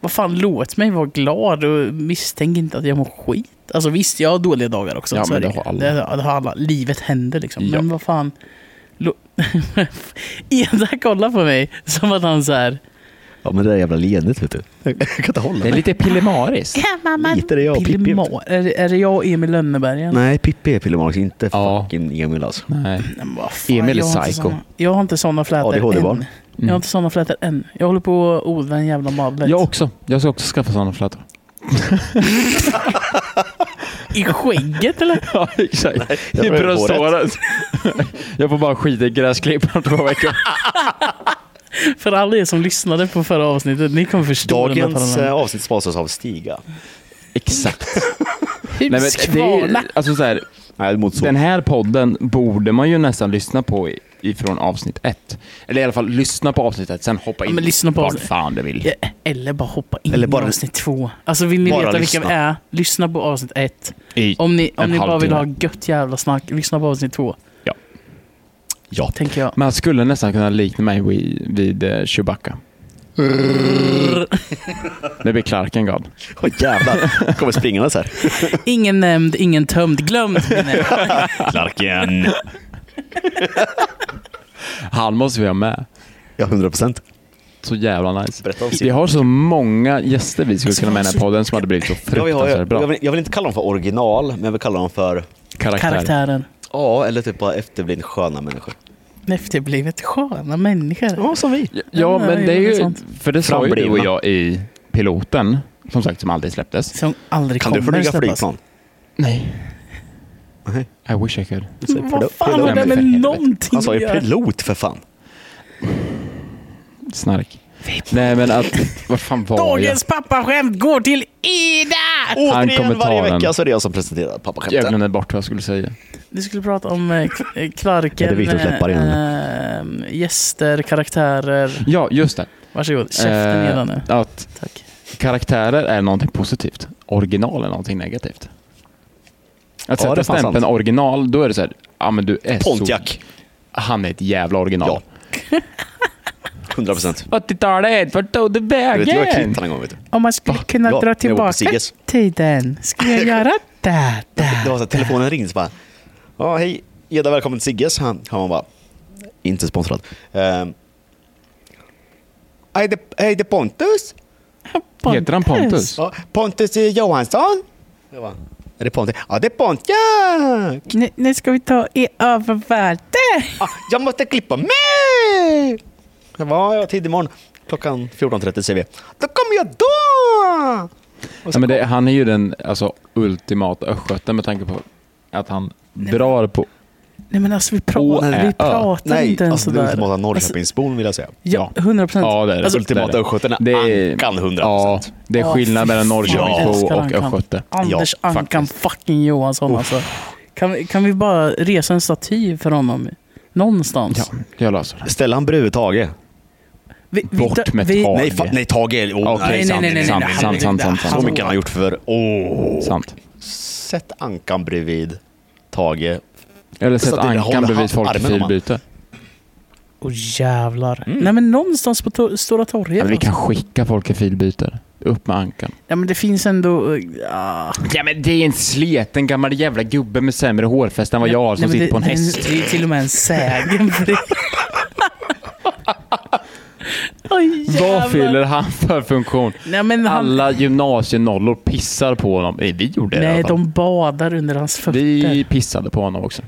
Speaker 1: vad fan, låt mig vara glad och misstänk inte att jag mår skit. Alltså visst, jag har dåliga dagar också.
Speaker 3: Ja,
Speaker 1: så
Speaker 3: men
Speaker 1: är
Speaker 3: det har alla.
Speaker 1: Det, det har alla. Livet händer liksom.
Speaker 3: Ja.
Speaker 1: Men vad fan. Lo- Eda kollar på mig som att han så här.
Speaker 2: Ja men det där jävla leendet vet du. Jag kan inte hålla
Speaker 3: Det är
Speaker 2: mig.
Speaker 3: lite pillemariskt.
Speaker 2: Lite det är jag och Pippi. vet du.
Speaker 1: Pillemar. Är, det- är det jag och Emil Lönneberg? igen?
Speaker 2: Nej, Pippi är Pillemarks, inte
Speaker 3: Ja.
Speaker 2: fucking Emil alltså.
Speaker 3: Nej.
Speaker 1: Nej, men vad fan,
Speaker 3: Emil är
Speaker 1: jag har inte
Speaker 3: psycho.
Speaker 1: såna- Jag har inte sådana flätor
Speaker 2: ADHD-barn.
Speaker 1: än. Jag
Speaker 3: Mm.
Speaker 1: har inte sådana flätor än. Jag håller på att odla en jävla madlet.
Speaker 3: Jag också. Jag ska också skaffa sådana flätor.
Speaker 1: I skägget eller?
Speaker 3: Ja, exakt.
Speaker 2: jag
Speaker 3: I
Speaker 2: tror det är
Speaker 3: brösthåret. Jag får bara skita i gräsklipparen två veckor.
Speaker 1: För alla er som lyssnade på förra avsnittet, ni kommer förstå den här
Speaker 2: Dagens eh,
Speaker 1: parallellen.
Speaker 2: avsnitt sponsras av Stiga.
Speaker 3: Exakt.
Speaker 1: Typ
Speaker 3: Nej, men det är,
Speaker 1: Huskvarna!
Speaker 3: ju- alltså så här,
Speaker 2: Nej, mot så.
Speaker 3: den här podden borde man ju nästan lyssna på i- ifrån avsnitt ett. Eller i alla fall lyssna på avsnitt ett, sen hoppa in
Speaker 1: Ja, men lyssna på
Speaker 3: vart
Speaker 1: avsnitt-
Speaker 3: fan du vill.
Speaker 1: Ja, Eller bara hoppa in
Speaker 2: Eller
Speaker 1: Eller
Speaker 2: bara-
Speaker 1: bara, i avsnitt två. Alltså vill ni
Speaker 2: Bara
Speaker 1: veta vilka
Speaker 2: lyssna.
Speaker 1: vi är, lyssna på avsnitt ett.
Speaker 3: I
Speaker 1: Om ni,
Speaker 3: en
Speaker 1: om ni bara vill ha
Speaker 3: halvtimme.
Speaker 1: gött jävla snack, lyssna på avsnitt två.
Speaker 2: Ja.
Speaker 1: Tänker jag.
Speaker 3: Man skulle nästan kunna likna mig vid, vid eh, Chewbacca. Det blir Clarkengard.
Speaker 2: Åh jävlar. Kommer springandes här.
Speaker 1: Ingen nämnd, ingen tömd, glömd. menar jag.
Speaker 2: Clarken.
Speaker 3: Han måste vi ha med.
Speaker 2: Ja, 100 procent.
Speaker 3: Så jävla nice.
Speaker 2: Berätta om
Speaker 3: Vi har så många gäster vi skulle kunna med i den här podden som hade blivit så
Speaker 2: Ja, vi har, jag,
Speaker 3: fruktansvärt
Speaker 2: jag,
Speaker 3: alltså, bra.
Speaker 2: vill, jag vill inte kalla dem för original, men jag vill kalla dem för
Speaker 3: Karaktär.
Speaker 1: Karaktären.
Speaker 2: Ja, eller typ bara efterblivit sköna människor.
Speaker 1: Efterblivet typ sköna människor.
Speaker 2: Ja, som vi.
Speaker 3: Ja, men det är
Speaker 1: Ja, det är
Speaker 3: ju...
Speaker 1: sant.
Speaker 3: För det sa ju du och
Speaker 2: Framblivna.
Speaker 3: jag i piloten, som sagt, som aldrig släpptes.
Speaker 1: Som aldrig
Speaker 2: Kan du
Speaker 1: kommer
Speaker 2: flyga
Speaker 1: släppas.
Speaker 2: flygplan?
Speaker 3: Nej.
Speaker 2: Nej.
Speaker 3: I wish I could.
Speaker 1: Men Vad fan
Speaker 3: Pilot.
Speaker 1: har det
Speaker 3: Nej,
Speaker 1: med
Speaker 3: men för
Speaker 1: någonting
Speaker 2: Han sa
Speaker 1: att
Speaker 2: ju
Speaker 1: göra?
Speaker 2: pilot för fan.
Speaker 3: Snark. Nej, men att... Vad fan var jag?
Speaker 1: Dagens pappaskämt går till Ida!
Speaker 3: kommer
Speaker 2: Återigen
Speaker 3: ta
Speaker 2: varje
Speaker 3: den.
Speaker 2: vecka så är det jag som presenterar
Speaker 3: Jag
Speaker 2: pappaskämten.
Speaker 3: glömde bort vad jag skulle säga.
Speaker 1: Du skulle prata om eh, K- eh, Clarken,
Speaker 2: Är det Viktors läppar igen,
Speaker 1: eh, gäster, karaktärer.
Speaker 3: Ja, just det.
Speaker 1: Varsågod, käften
Speaker 3: Eh,
Speaker 1: Ida nu.
Speaker 3: Att
Speaker 1: Tack.
Speaker 3: karaktärer är någonting positivt. Original är någonting negativt. Att
Speaker 2: Ja, det
Speaker 3: sätta
Speaker 2: är fan
Speaker 3: stämpeln
Speaker 2: sant.
Speaker 3: original, då är det så här, ja men du är
Speaker 2: Pontiac.
Speaker 3: så... Han är ett jävla original.
Speaker 2: Ja. 100 procent.
Speaker 3: 80-talet, vart tog det
Speaker 2: Du vet, jag har
Speaker 3: vägen?
Speaker 2: klippt han en gång. Vet du.
Speaker 1: Om man skulle kunna
Speaker 2: Ah, Ja, jag var
Speaker 1: dra
Speaker 2: på
Speaker 1: tillbaka
Speaker 2: Sigges.
Speaker 1: tiden, skulle jag göra där,
Speaker 2: Det var
Speaker 1: där.
Speaker 2: så att telefonen ringde så bara. Ja, hej. Eda, välkommen till Sigges. Han, han var bara. Inte sponsrad. Ehm. Hej, det, hej, det är Pontus.
Speaker 3: Heter han Pontus?
Speaker 2: Ja, Pontus Johansson. Jag bara, är det Pontus? Ja, det är Pontiac.
Speaker 1: Nu, nu ska vi ta i övervärde.
Speaker 2: Ah, jag måste klippa mig! Det var jag tidig morgon. Klockan 14.30 säger vi. Då kommer jag då!
Speaker 3: Ja, men det, han är ju den alltså, ultimata östgöten med tanke på att han drar på...
Speaker 1: Nej men alltså vi pratar,
Speaker 3: Å,
Speaker 1: vi
Speaker 3: ä,
Speaker 1: pratar
Speaker 2: Nej,
Speaker 1: inte ens
Speaker 2: alltså, den
Speaker 1: sådär.
Speaker 2: ultimata
Speaker 1: Alltså,
Speaker 2: Norrköpingsbon vill jag säga.
Speaker 1: ja, 100 procent.
Speaker 3: Ja, det är det.
Speaker 1: Alltså,
Speaker 2: ultimata
Speaker 3: det är det.
Speaker 2: östgöten är
Speaker 3: Det är-
Speaker 2: Ankan 100%.
Speaker 3: Ja, det är
Speaker 1: Åh, fy
Speaker 3: skillnad mellan
Speaker 1: fan, jag
Speaker 3: Norrköpingsbo
Speaker 1: älskar
Speaker 3: och
Speaker 1: Ankan.
Speaker 3: östgöte.
Speaker 1: Anders
Speaker 2: Ja,
Speaker 1: Ankan fucking Johansson alltså. Kan, vi- kan vi bara resa en staty för honom? Någonstans.
Speaker 3: Ja, jag löser det.
Speaker 2: Ställ han bredvid Tage?
Speaker 1: Vi, vi,
Speaker 3: Bort med
Speaker 1: vi,
Speaker 3: Tage.
Speaker 2: Nej, fa- nej Tage är... Oh,
Speaker 3: Okej,
Speaker 2: nej,
Speaker 1: sant,
Speaker 2: nej, nej,
Speaker 1: sant,
Speaker 2: nej,
Speaker 1: sant,
Speaker 2: nej. Alltså-
Speaker 1: sant, sant,
Speaker 2: Så
Speaker 1: sant.
Speaker 2: mycket han har gjort för... Åh!
Speaker 3: Sant.
Speaker 2: Sätt Ankan bredvid Tage.
Speaker 3: Eller
Speaker 2: Så
Speaker 3: sett
Speaker 2: att det håller
Speaker 3: Ankan bredvid
Speaker 2: hand-
Speaker 3: folk i
Speaker 2: armen om han.
Speaker 3: filbyte.
Speaker 1: Åh jävlar. Nej men någonstans på to- Stora torget.
Speaker 3: Mm. Ja, men vi kan
Speaker 1: alltså.
Speaker 3: skicka folk i filbyte. Upp med Ankan.
Speaker 1: ja, men det finns ändå... eh, ah.
Speaker 3: Ja men det är en sleten gammal jävla gubbe med sämre hårfäste än vad jag har som
Speaker 1: Nej, men
Speaker 3: sitter
Speaker 1: det,
Speaker 3: på en
Speaker 1: det är
Speaker 3: häst.
Speaker 1: Det är till och med en sägen för det. Oj, jävlar.
Speaker 3: Vad fyller han för funktion?
Speaker 1: Nej, men han,
Speaker 3: Alla gymnasienollor pissar på honom. Nej, vi gjorde det i
Speaker 1: nej,
Speaker 3: alla fall.
Speaker 1: de badar under hans fötter.
Speaker 3: Vi pissade på honom också.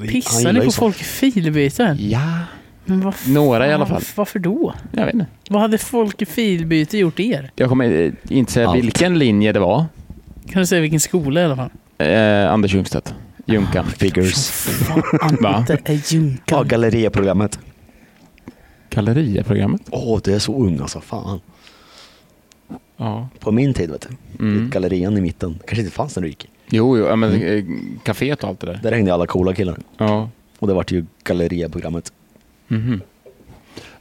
Speaker 1: Pissar ni på folk i filbyten?
Speaker 3: Ja.
Speaker 1: Men vad fan,
Speaker 3: Några i alla fall.
Speaker 1: Varför då?
Speaker 3: Jag vet inte.
Speaker 1: Vad hade folk i filbyte gjort er?
Speaker 3: Jag kommer eh, inte säga
Speaker 2: Allt.
Speaker 3: vilken linje det var.
Speaker 1: Kan du säga vilken skola i alla fall?
Speaker 3: Eh, Anders Ljungstedt. Junkan.
Speaker 2: Figures.
Speaker 3: Va?
Speaker 1: Det är
Speaker 2: Ja,
Speaker 1: Junkan.
Speaker 2: gallerieprogrammet.
Speaker 3: Gallerieprogrammet?
Speaker 2: Åh, det är så ung alltså. Fan.
Speaker 3: Ja.
Speaker 2: På min tid, vet du.
Speaker 3: Mm.
Speaker 2: Gallerian i mitten. kanske inte fanns när du gick.
Speaker 3: Jo, jo ja, men eh, kaféet och allt det där.
Speaker 2: Där hängde alla coola killar.
Speaker 3: Ja.
Speaker 2: Och det vart ju gallerieprogrammet.
Speaker 3: Mhm.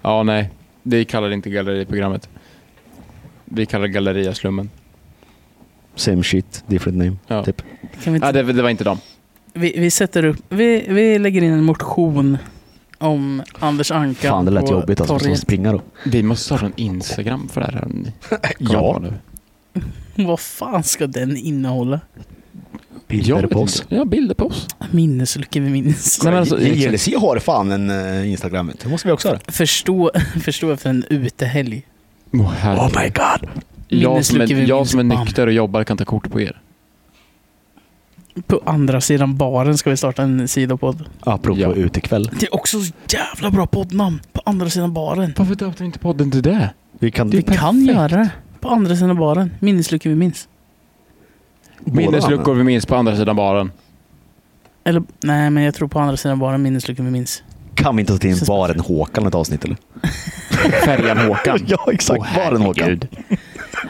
Speaker 3: Ja, nej. Vi kallar det inte galleriprogrammet. Vi kallar det galleriaslummen.
Speaker 2: Same shit, different name.
Speaker 3: Ja.
Speaker 2: Typ.
Speaker 1: Kan vi,
Speaker 3: Nej,
Speaker 1: inte,
Speaker 3: det, det var inte dem.
Speaker 1: vi, vi sätter upp, vi, vi lägger in en motion om Anders Anka
Speaker 2: Fan, det lät
Speaker 1: på
Speaker 2: jobbigt alltså. Som
Speaker 1: torget.
Speaker 2: springa då.
Speaker 3: Vi måste starta en Instagram för det här. hörni.
Speaker 2: Äh, Ja.
Speaker 3: Kom igen
Speaker 1: Vad fan ska den innehålla?
Speaker 3: nu.
Speaker 2: Bilder
Speaker 3: Jag
Speaker 2: på
Speaker 3: vet
Speaker 2: oss.
Speaker 3: inte. Ja, bilder på oss.
Speaker 1: Minnesluckor vid minnes.
Speaker 3: Nej, men alltså, liksom,
Speaker 2: JLC har fan en eh, Instagram. vet du. Det måste vi också ha.
Speaker 1: Förstå, förstå efter en utehelg.
Speaker 3: Åh, herregud.
Speaker 2: my god.
Speaker 3: jag som
Speaker 1: Minneslucka
Speaker 3: är,
Speaker 1: vid
Speaker 3: jag som är
Speaker 1: minst- bam.
Speaker 3: nykter och jobbar kan ta kort på er.
Speaker 1: På andra sidan baren ska vi starta en sidopodd.
Speaker 2: Apropå
Speaker 3: Ja.
Speaker 2: utekväll.
Speaker 1: Det är också så jävla bra poddnamn. På andra sidan baren.
Speaker 3: Varför döpte vi inte podden till det?
Speaker 2: Vi kan
Speaker 1: Vi kan göra det. På andra sidan baren. Minnesluckor vi minns.
Speaker 2: båda
Speaker 3: Minnesluckor vi minns på andra sidan baren.
Speaker 1: Eller nej, men jag tror på andra sidan baren minnesluckor vi minns.
Speaker 2: namnen. Kan vi inte ta till en Baren Håkan ett avsnitt eller?
Speaker 3: Färjan Håkan.
Speaker 2: Ja exakt,
Speaker 3: Åh,
Speaker 2: Baren Håkan.
Speaker 3: herregud.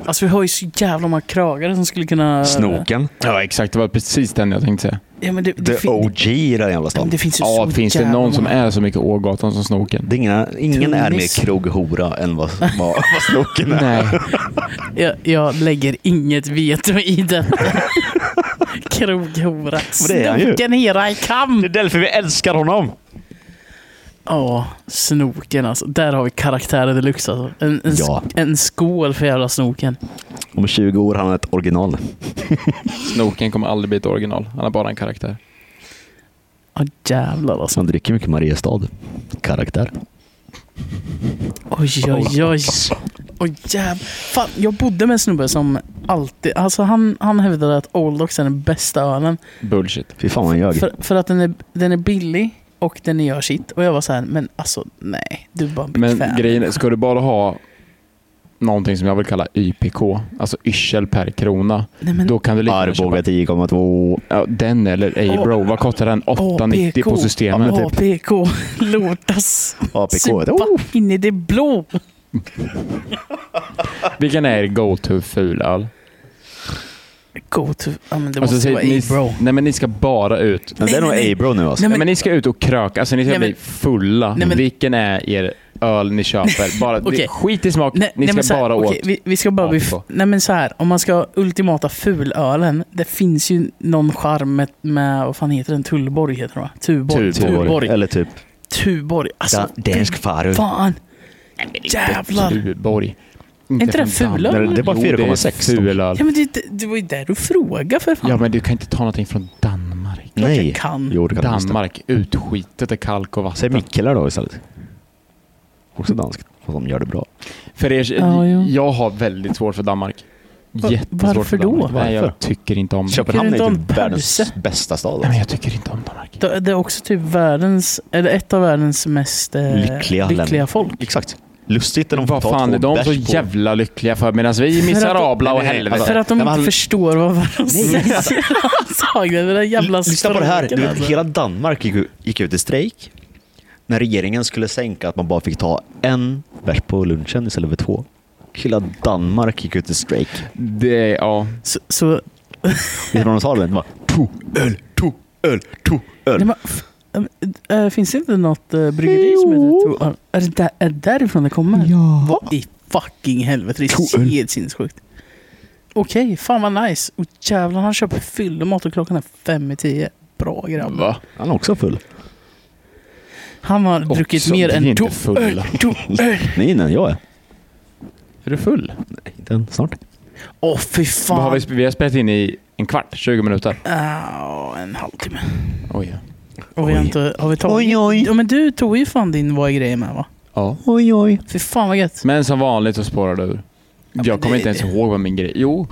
Speaker 1: Alltså vi har ju så jävla många kragare som skulle kunna...
Speaker 2: Snoken.
Speaker 3: Ja, exakt. Det var precis den jag tänkte säga.
Speaker 1: Ja, men det, det,
Speaker 2: The
Speaker 1: fin-
Speaker 2: OG i den jävla
Speaker 1: men
Speaker 2: stan.
Speaker 1: det finns ju
Speaker 3: Ja,
Speaker 1: så
Speaker 3: finns det
Speaker 1: jävla
Speaker 3: någon som
Speaker 1: många.
Speaker 3: är så mycket Ågatan som Snoken?
Speaker 2: Det är ingen, ingen är mer
Speaker 1: Tunnis.
Speaker 2: kroghora än vad, vad, vad Snoken är.
Speaker 3: Nej.
Speaker 1: Jag, jag lägger inget veto i detta. Kroghora.
Speaker 2: Men det är han ju.
Speaker 1: Snoken era i kamp!
Speaker 2: är därför vi älskar honom.
Speaker 1: Ja, snoken alltså. Där har vi karaktärer deluxe alltså. En, en,
Speaker 2: Ja.
Speaker 1: en skål för jävla snoken.
Speaker 2: Om 20 år har han ett original.
Speaker 3: Snoken kommer aldrig bli ett original. Han är bara en karaktär.
Speaker 1: Ja jävlar alltså.
Speaker 2: Så han dricker mycket Mariestad. Karaktär.
Speaker 1: Oj, oj, oj. Oj, jävlar. Fan, jag bodde med en snubbe som alltid... Alltså han, han hävdade att Old Dogs är den bästa ölen.
Speaker 3: Bullshit.
Speaker 2: Fy fan vad han ljög.
Speaker 1: För, för att den är, den är billig och den gör sitt. Och jag var så här, men alltså nej. Du är bara en
Speaker 3: Men
Speaker 1: bekväm.
Speaker 3: grejen är, ska du bara ha någonting som jag vill kalla YPK, alltså yrsel per krona,
Speaker 1: nej, men,
Speaker 3: då kan du lika gärna
Speaker 2: Arboga
Speaker 3: köpa
Speaker 2: 10,2.
Speaker 3: ja, den eller A-Bro. Vad kostar den? 8,90 på
Speaker 1: APK.
Speaker 3: systemet.
Speaker 2: men typ.
Speaker 1: APK lotas.
Speaker 2: APK.
Speaker 1: Supa
Speaker 2: Oh!
Speaker 1: in i det blå.
Speaker 3: Vilken är er go-to fulöl?
Speaker 1: Go to... typ. Ja, men det
Speaker 3: Alltså,
Speaker 1: måste
Speaker 3: säg-
Speaker 1: vara
Speaker 3: ni,
Speaker 1: A-bro.
Speaker 3: Nej men ni ska bara ut.
Speaker 2: Men det är nog
Speaker 1: Nej, nej, nej.
Speaker 2: A-bro nu alltså.
Speaker 1: Nej, men-
Speaker 3: Nej, men, ni ska ut och kröka. Alltså ni ska
Speaker 1: Nej, men-
Speaker 3: bli fulla.
Speaker 1: Nej, men-
Speaker 3: Vilken är er öl ni köper? Bara, det-
Speaker 1: Okej.
Speaker 3: Skit i smak.
Speaker 1: Nej,
Speaker 3: ni
Speaker 1: nej,
Speaker 3: ska
Speaker 1: men så här,
Speaker 3: bara
Speaker 1: okej,
Speaker 3: åt.
Speaker 1: vi, vi ska bara bli... f-
Speaker 3: APK.
Speaker 1: Nej men så här, om man ska ha ultimata fulölen. Det finns ju någon charm med, med vad fan heter den? Tullborg heter den va? Tuborg.
Speaker 3: Tuborg.
Speaker 1: Tuborg.
Speaker 2: Eller typ
Speaker 1: Tuborg. Alltså,
Speaker 2: da- dansk faru.
Speaker 1: fan. Jävlar.
Speaker 3: Tuborg. Inte
Speaker 1: inte det
Speaker 3: från
Speaker 1: fulöl?
Speaker 3: Danmark.
Speaker 2: Nej, det är bara
Speaker 3: Jo, det är
Speaker 2: 4,6.
Speaker 3: Fulöl.
Speaker 1: Ja, men det, det- det var ju där du frågade för fan.
Speaker 3: Ja, men du kan inte ta någonting från Danmark.
Speaker 1: Klart jag
Speaker 2: Nej.
Speaker 1: kan.
Speaker 2: Jo, det kan du visst.
Speaker 3: Danmark, utskitet är kalk och
Speaker 2: Säg
Speaker 3: vatten.
Speaker 2: Mikkelar då istället. Också danskt. Fast de gör det bra.
Speaker 3: För er,
Speaker 1: Ja, jo.
Speaker 3: Jag har väldigt svårt för Danmark.
Speaker 1: Va-
Speaker 3: Jättesvårt
Speaker 1: varför
Speaker 3: för
Speaker 1: då?
Speaker 3: Danmark. Nej,
Speaker 2: Varför?
Speaker 3: jag tycker inte om det.
Speaker 2: Köpenhamn
Speaker 1: du
Speaker 2: är
Speaker 1: inte
Speaker 2: ju
Speaker 1: ha
Speaker 2: typ
Speaker 1: en
Speaker 2: världens
Speaker 1: pölse?
Speaker 2: bästa stad.
Speaker 3: Mm. Nej, men
Speaker 2: Alltså.
Speaker 3: jag tycker inte om Danmark.
Speaker 1: Det det är också typ världens, eller ett av världens mest eh,
Speaker 2: Lyckliga
Speaker 1: lyckliga,
Speaker 2: länder.
Speaker 1: folk.
Speaker 2: Exakt. Lustigt när de får
Speaker 3: Vad
Speaker 2: ta
Speaker 3: fan
Speaker 2: två
Speaker 3: är de
Speaker 2: bärs
Speaker 3: så
Speaker 2: på-
Speaker 3: jävla lyckliga för medan vi är
Speaker 1: att-
Speaker 3: miserabla
Speaker 2: Nej, nej,
Speaker 3: och
Speaker 2: nej,
Speaker 3: helvete.
Speaker 2: alltså-
Speaker 1: För att de
Speaker 2: Nej,
Speaker 1: inte
Speaker 2: men han-
Speaker 1: förstår vad varandra säger. Antagligen. Det där jävla
Speaker 2: Lyssna på det här. Du
Speaker 1: språket,
Speaker 2: vet,
Speaker 1: alltså.
Speaker 2: hela Danmark gick, u- gick ut i strejk när regeringen skulle sänka att man bara fick ta en bärs på lunchen istället för två. Hela Danmark gick ut i strejk.
Speaker 3: Det, ja.
Speaker 1: Så, så,
Speaker 2: Vet du vad de sa? då? De bara, to öl, to öl, to öl.
Speaker 1: nej, men, f- äh, äh, finns det inte något äh, bryggeri som heter Tor? Är det där, är det därifrån det kommer? Ja. Vad i fucking helvete? Det är helt sinnessjukt. Okej, fan vad nice. Och jävlar, han köper fyllemat och klockan är fem i tio. Bra grabb.
Speaker 3: Va?
Speaker 2: Han är också full.
Speaker 1: Han har druckit
Speaker 3: Också,
Speaker 1: mer
Speaker 3: vi är
Speaker 1: än
Speaker 3: inte
Speaker 1: to öl,
Speaker 3: fulla.
Speaker 1: to öl.
Speaker 2: Nej, innan jag är.
Speaker 3: Är du full?
Speaker 2: Nej, inte än. Snart.
Speaker 1: Åh fy
Speaker 3: Vad
Speaker 1: fan.
Speaker 3: Har vi, sp- vi har spelat in i en kvart, 20 minuter.
Speaker 1: Ja, Ah, en halvtimme.
Speaker 3: Oj.
Speaker 1: Och vi har, inte, har vi tagit...
Speaker 2: Oj, oj.
Speaker 1: Ja, men du tog ju fan din Vad är grejen med va?
Speaker 3: Ja.
Speaker 2: Oj, oj.
Speaker 1: Fy fan vad gött.
Speaker 3: Men som vanligt så spårar du ur. Jag kommer inte ens ihåg vad min grej... Jo.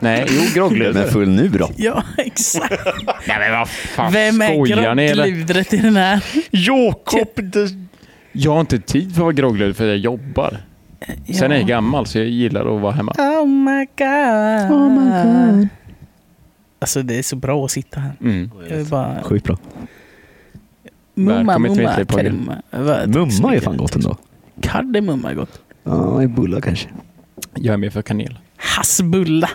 Speaker 3: Nej, jo,
Speaker 2: Glöm är
Speaker 3: grogglöver.
Speaker 2: full nu då.
Speaker 1: Ja, exakt.
Speaker 3: Nej men vad fan,
Speaker 1: Vem är
Speaker 3: skojar ni eller?
Speaker 1: groggludret i den här?
Speaker 2: Jakob de
Speaker 3: Jag har inte tid för att vara grogglödig för jag jobbar. Sen är jag gammal så jag gillar att vara hemma.
Speaker 1: Oh my god. Oh my god. Alltså det är så bra att sitta här.
Speaker 3: Mm.
Speaker 1: Jag vill bara...
Speaker 2: Sjukt bra.
Speaker 1: Mumma,
Speaker 3: Välkommen till
Speaker 1: mumma,
Speaker 3: Vittley Pogge.
Speaker 1: kardemumma. Va, tack så
Speaker 2: Mumma är
Speaker 1: mycket.
Speaker 2: fan gott ändå.
Speaker 1: Kardemumma är gott.
Speaker 2: liksom. Ja, i bullar kanske.
Speaker 3: Jag är med för kanel.
Speaker 1: Hassbulla.